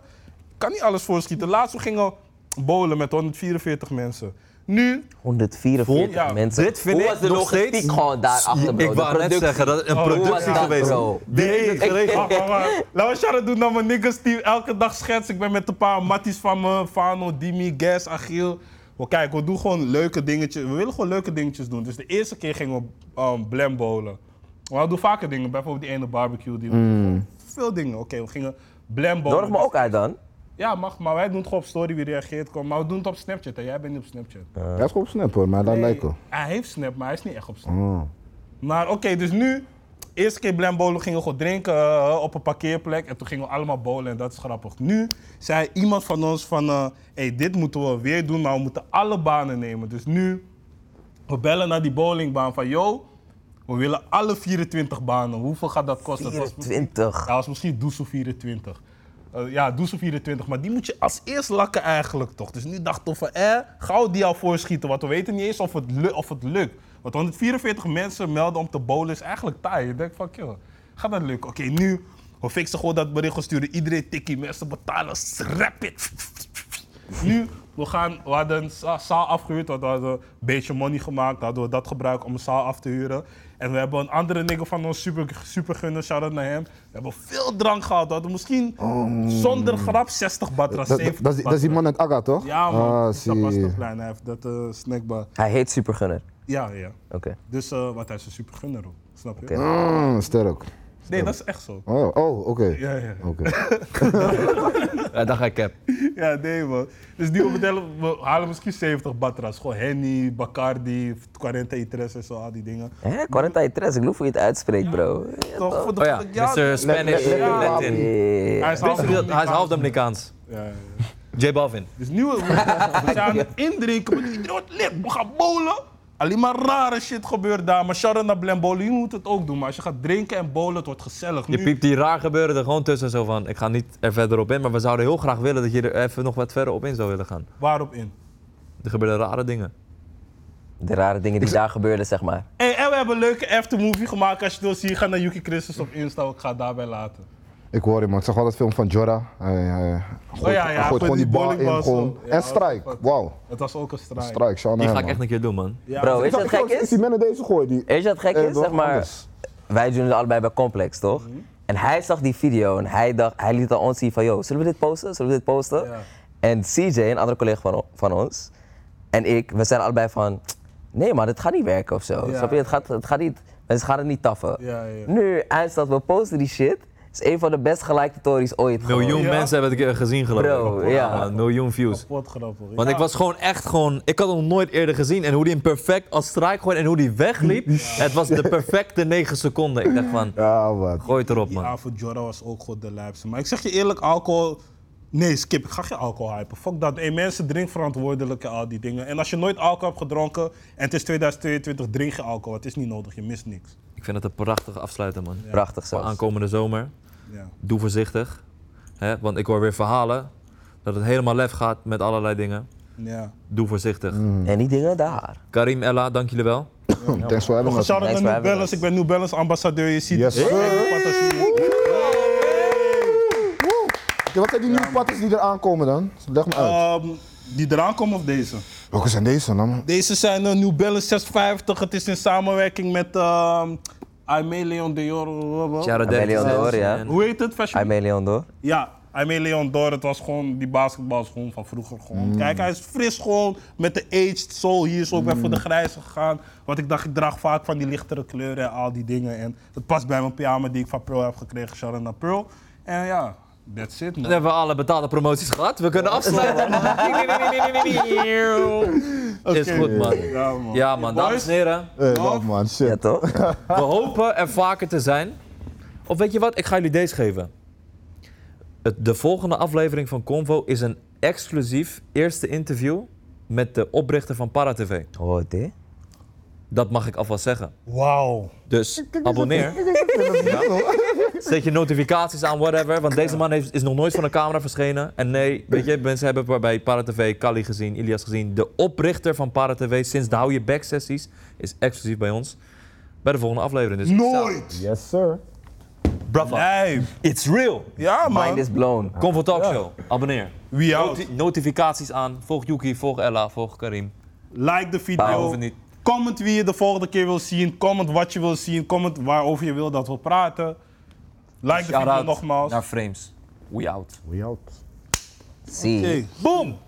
A: kan niet alles voorschieten. Laatst we gingen bowlen met 144 mensen. Nu,
E: 144
A: Ja,
E: mensen.
D: Dit vind
E: Hoe
D: ik
E: was de
D: nog
E: logistiek
D: steeds-
E: gewoon daarachter, bro?
D: Ik
E: De
D: wou net
E: productie.
D: zeggen, dat is een
A: Oh,
D: productie
A: hoe was dat,
D: geweest.
E: bro?
D: Die heeft het geregeld.
A: wacht, wacht, wacht. Nou, Laat me shout-out doen naar mijn niggas die elke dag schets. Ik ben met een paar matties van me, Fano, Dimi, Gas, Achiel. We kijk, we doen gewoon leuke dingetjes. We willen gewoon leuke dingetjes doen. Dus de eerste keer gingen we um, blem bowlen. Maar we doen vaker dingen. Bijvoorbeeld die ene barbecue. Die we
D: Hmm.
A: doen. Veel dingen. Oké, we gingen blem bowlen.
E: Nodig me ook uit dan.
A: Ja, mag, maar wij doen het gewoon op story wie reageert. Kom. Maar we doen het op Snapchat en jij bent niet op Snapchat.
B: Dat is gewoon snap hoor, maar dat
A: Nee,
B: lijkt wel. Oh.
A: Hij heeft Snap, maar hij is niet echt op Snap. Maar oké, dus nu, eerste keer Blambolen gingen we gewoon drinken eh, op een parkeerplek. En toen gingen we allemaal bowlen en dat is grappig. Nu zei iemand van ons van, eh hey, dit moeten we weer doen, maar we moeten alle banen nemen. Dus nu, we bellen naar die bowlingbaan van, yo, we willen alle 24 banen. Hoeveel gaat dat kosten? Het was-
E: 24.
A: ja, was misschien Doezel 24. Eh, ja, Doezel 24, maar die moet je als eerst lakken eigenlijk toch. Dus nu dachten we van, eh, gauw die al voorschieten, want we weten niet eens of het, lu- of het lukt. Want 144 mensen melden om te bowlen is eigenlijk taai. Je denkt van, joh, gaat dat lukken? Oké, nu, we fixen gewoon dat bericht, we sturen iedereen tikkie, mensen betalen, rapid. Nu, we, gaan, we hadden een za- zaal afgehuurd, want we hadden een beetje money gemaakt. Hadden we dat gebruikt om een zaal af te huren. En we hebben een andere nigger van ons, super, super gunner, shout-out naar hem. We hebben veel drank gehad. We hadden misschien zonder grap 60 batra,
B: Oh. Dat,
A: 70
B: dat is, dat is die
A: batra.
B: man uit Aga, toch?
A: Ja man,
B: Ah,
A: dat
B: zie.
A: was toch klein. Hij heeft dat eh, snackbar.
E: Hij heet Supergunner.
A: Ja, ja.
E: Oké.
A: Dus, eh wat hij is een super gunner, hoor. snap je?
E: Oké.
B: Mm, sterk.
A: Nee, dat is echt zo.
B: Oh, oh oké.
A: Ja, ja.
B: Oké.
D: Ja, dan ga ik cap.
A: Ja, nee man. Dus die opdelen, we halen misschien 70 batras. Gewoon Henny, Bacardi, 40 Itres en zo, al die dingen.
E: Hè? Quarantine Tres, ik geloof hoe je het uitspreekt, bro. Ja,
A: Toch? Voor de
D: Oh ja,
A: ja,
D: Mr. Spanish.
B: le- le-
D: Latin.
B: le-
A: Hij is half
D: Wist je dat? Hij is half Dominicaans.
A: Ja, ja, ja.
D: J Balvin.
A: Dus nu, we, (laughs) we zijn aan het indrinken, maar iedereen wordt lid. We gaan bowlen. Alleen maar rare shit gebeurt daar. Maar Sharon naar Blambolen, je moet het ook doen. Maar als je gaat drinken en bowlen, het wordt gezellig.
D: Je
A: Nu,
D: piept die raar gebeuren er gewoon tussen zo van. Ik ga niet er verder op in, maar we zouden heel graag willen dat je er even nog wat verder op in zou willen gaan.
A: waarop in?
D: Er gebeuren rare dingen.
E: De rare dingen die daar gebeurden, zeg maar.
A: Hey, en we hebben een leuke aftermovie gemaakt. Als je het wil zien, ga naar Yuki Christus op Insta. Ik ga het daarbij laten.
B: Ik hoor je man, ik zag wel dat film van Jorah. Hij, hij, gooit,
A: Oh ja, ja, hij
B: hij gooit
A: gooit
B: gewoon die
A: die
B: bal in.
A: bowlingbal
B: Gewoon.
A: zo. Ja,
B: en
A: dat
B: strike,
A: fuck.
B: wauw.
A: Het was ook een strijd.
B: Strike, Sean
D: Die ga ik echt een keer doen, man.
A: Ja,
E: Bro, weet je wat
B: Ik zag
E: gek
B: eens
E: is?
B: die man deze gooien. Die,
E: Weet je wat gek
B: Eh,
E: is?
B: door
E: Zeg maar,
B: anders.
E: wij doen het allebei bij Complex, toch?
A: Mhm.
E: En hij zag die video en hij, dacht, hij liet aan ons zien van, yo, zullen we dit posten? Zullen we dit posten?
A: Ja.
E: En CJ, een andere collega van, o- van ons, en ik, we zijn allebei van, nee man, dit gaat niet werken of zo.
A: Ja.
E: Snap je? Het gaat, het gaat niet, mensen gaan het niet taffen.
A: Ja, ja.
E: Nu, eindstand, we posten die shit. Het is een van de best gelikte tories ooit. gewoon.
D: Miljoen
A: Ja.
D: mensen hebben het gezien geloof ik.
E: Bro, ja.
D: man, Miljoen views.
A: Wat grappig.
D: Want ik was gewoon echt gewoon... Ik had hem nog nooit eerder gezien. En hoe die hem perfect als strike gooide en hoe die wegliep. Het was de perfecte 9 seconden. Ik dacht van,
B: Ja, man.
D: gooi het erop, man.
A: Ja, voor Jorah was ook goed de lijpste. Maar ik zeg je eerlijk, alcohol... Nee, skip. Ik ga geen alcohol hypen. Fuck dat. Hey, mensen, drink verantwoordelijk en al die dingen. En als je nooit alcohol hebt gedronken en het is 2022, drink je alcohol. Het is niet nodig. Je mist niks.
D: Ik vind het een prachtig afsluiten, man.
E: Prachtig
D: Voor
E: zelfs.
D: aankomende zomer.
A: Ja.
D: Doe voorzichtig. Hè? Want ik hoor weer verhalen dat het helemaal lef gaat met allerlei dingen.
A: Ja.
D: Doe voorzichtig.
E: En die dingen daar.
D: Karim, Ella, dank jullie wel.
B: Thanks for having
A: Nog een
B: us.
A: shout-out
E: Thanks
A: naar
E: for
A: New
E: having
A: Balance.
E: us.
A: Ik ben New Balance ambassadeur. Je ziet
B: Yes,
A: het.
B: sir.
A: Hey, wat als je-
B: Ja, wat zijn die nieuwe patters die eraan komen dan? Leg me uit.
A: Ehm, die eraan komen of deze?
B: Welke zijn deze dan? man?
A: Deze zijn een New Balance 650. Het is in samenwerking met ehm Aimee Leon Dior.
D: Jared
E: Amelie
D: Dennis
E: Andor, ja.
D: en-
A: Hoe heet het? Fashion
E: I'm Leon door.
A: Ja, Aimee Leon Dor, het was gewoon die basketbal is gewoon van vroeger. Gewoon. Kijk, hij is fris gewoon met de aged soul. Hier is ook bij voor de grijze gegaan. Want ik dacht, ik draag vaak van die lichtere kleuren en al die dingen. En het past bij mijn pyjama die ik van Pearl heb gekregen, Sharon Pearl. En ja, That's it,
D: We
A: man.
D: hebben alle betaalde promoties gehad. We kunnen afsluiten. Is
A: Oké.
D: goed, man.
A: Ja, man.
D: Ja, man. Dames en heren.
B: Hey, Eh, love man, shit.
E: Ja, toch?
D: We hopen er vaker te zijn. Of weet je wat? Ik ga jullie deze geven. Het- De volgende aflevering van Convo is een exclusief eerste interview met de oprichter van ParaTV.
E: Oh, dit?
D: Dat mag ik alvast zeggen.
A: Wauw.
D: Dus abonneer. Zet je notificaties aan, whatever. Want deze man heeft, is nog nooit van een camera verschenen. En nee, weet je, mensen hebben waarbij ParaTV, Kali gezien, Ilias gezien. De oprichter van ParaTV sinds de Hou Je Back sessies is exclusief bij ons. Bij de volgende aflevering. Dus
A: Nooit.
B: Yes, sir.
D: Brava.
A: Nee.
D: It's real.
A: Ja,
E: Mind
A: man.
E: is blown.
D: Convo Talk Show. Abonneer.
A: We out.
D: Noti- notificaties aan. Volg Yuki, volg Ella, volg Karim.
A: Like de
D: Waarom
A: video.
D: hoeven niet?
A: Comment wie je de volgende keer wil zien. Comment wat je wil zien. Comment waarover je wil dat we praten. Like de video
D: Shout-out
A: nogmaals.
D: naar Frames. We out.
B: We out.
E: See.
A: Hey, Boom.